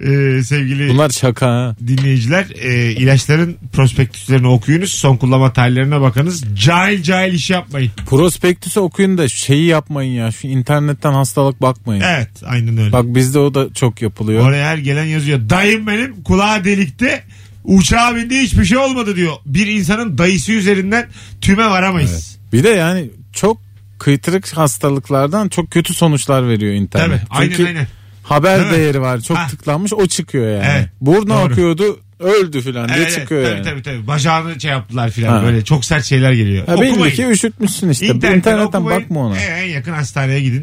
Speaker 2: Ee, sevgili
Speaker 3: Bunlar şaka ha.
Speaker 2: dinleyiciler e, ilaçların prospektüslerini okuyunuz. Son kullanma tarihlerine bakınız. Cahil cahil iş yapmayın.
Speaker 3: Prospektüsü okuyun da şeyi yapmayın ya. Şu internetten hastalık bakmayın.
Speaker 2: Evet aynen öyle.
Speaker 3: Bak bizde o da çok yapılıyor.
Speaker 2: Oraya her gelen yazıyor. Dayım benim kulağı delikti. Uçağa bindi hiçbir şey olmadı diyor. Bir insanın dayısı üzerinden tüme varamayız.
Speaker 3: Bir de yani çok kıytırık hastalıklardan çok kötü sonuçlar veriyor internet.
Speaker 2: Tabii, aynen,
Speaker 3: Çünkü
Speaker 2: aynen.
Speaker 3: haber
Speaker 2: Değil mi?
Speaker 3: değeri var. Çok
Speaker 2: Ha.
Speaker 3: tıklanmış o çıkıyor yani.
Speaker 2: Evet,
Speaker 3: Burnu
Speaker 2: doğru.
Speaker 3: akıyordu öldü filan diye
Speaker 2: Evet, evet,
Speaker 3: çıkıyor
Speaker 2: tabii,
Speaker 3: yani.
Speaker 2: tabii tabii. Bacağını şey yaptılar filan
Speaker 3: Ha.
Speaker 2: böyle çok sert şeyler geliyor.
Speaker 3: Ha, belli
Speaker 2: Okumayın.
Speaker 3: ki üşütmüşsün işte.
Speaker 2: İnternetten
Speaker 3: İnternetten,
Speaker 2: okumayın.
Speaker 3: bakma ona.
Speaker 2: E, en yakın hastaneye gidin.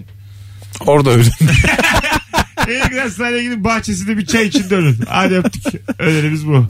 Speaker 2: Ee,
Speaker 3: Orada öldü.
Speaker 2: en yakın hastaneye gidin bahçesinde bir çay için dönün. Hadi öptük. Önerimiz bu.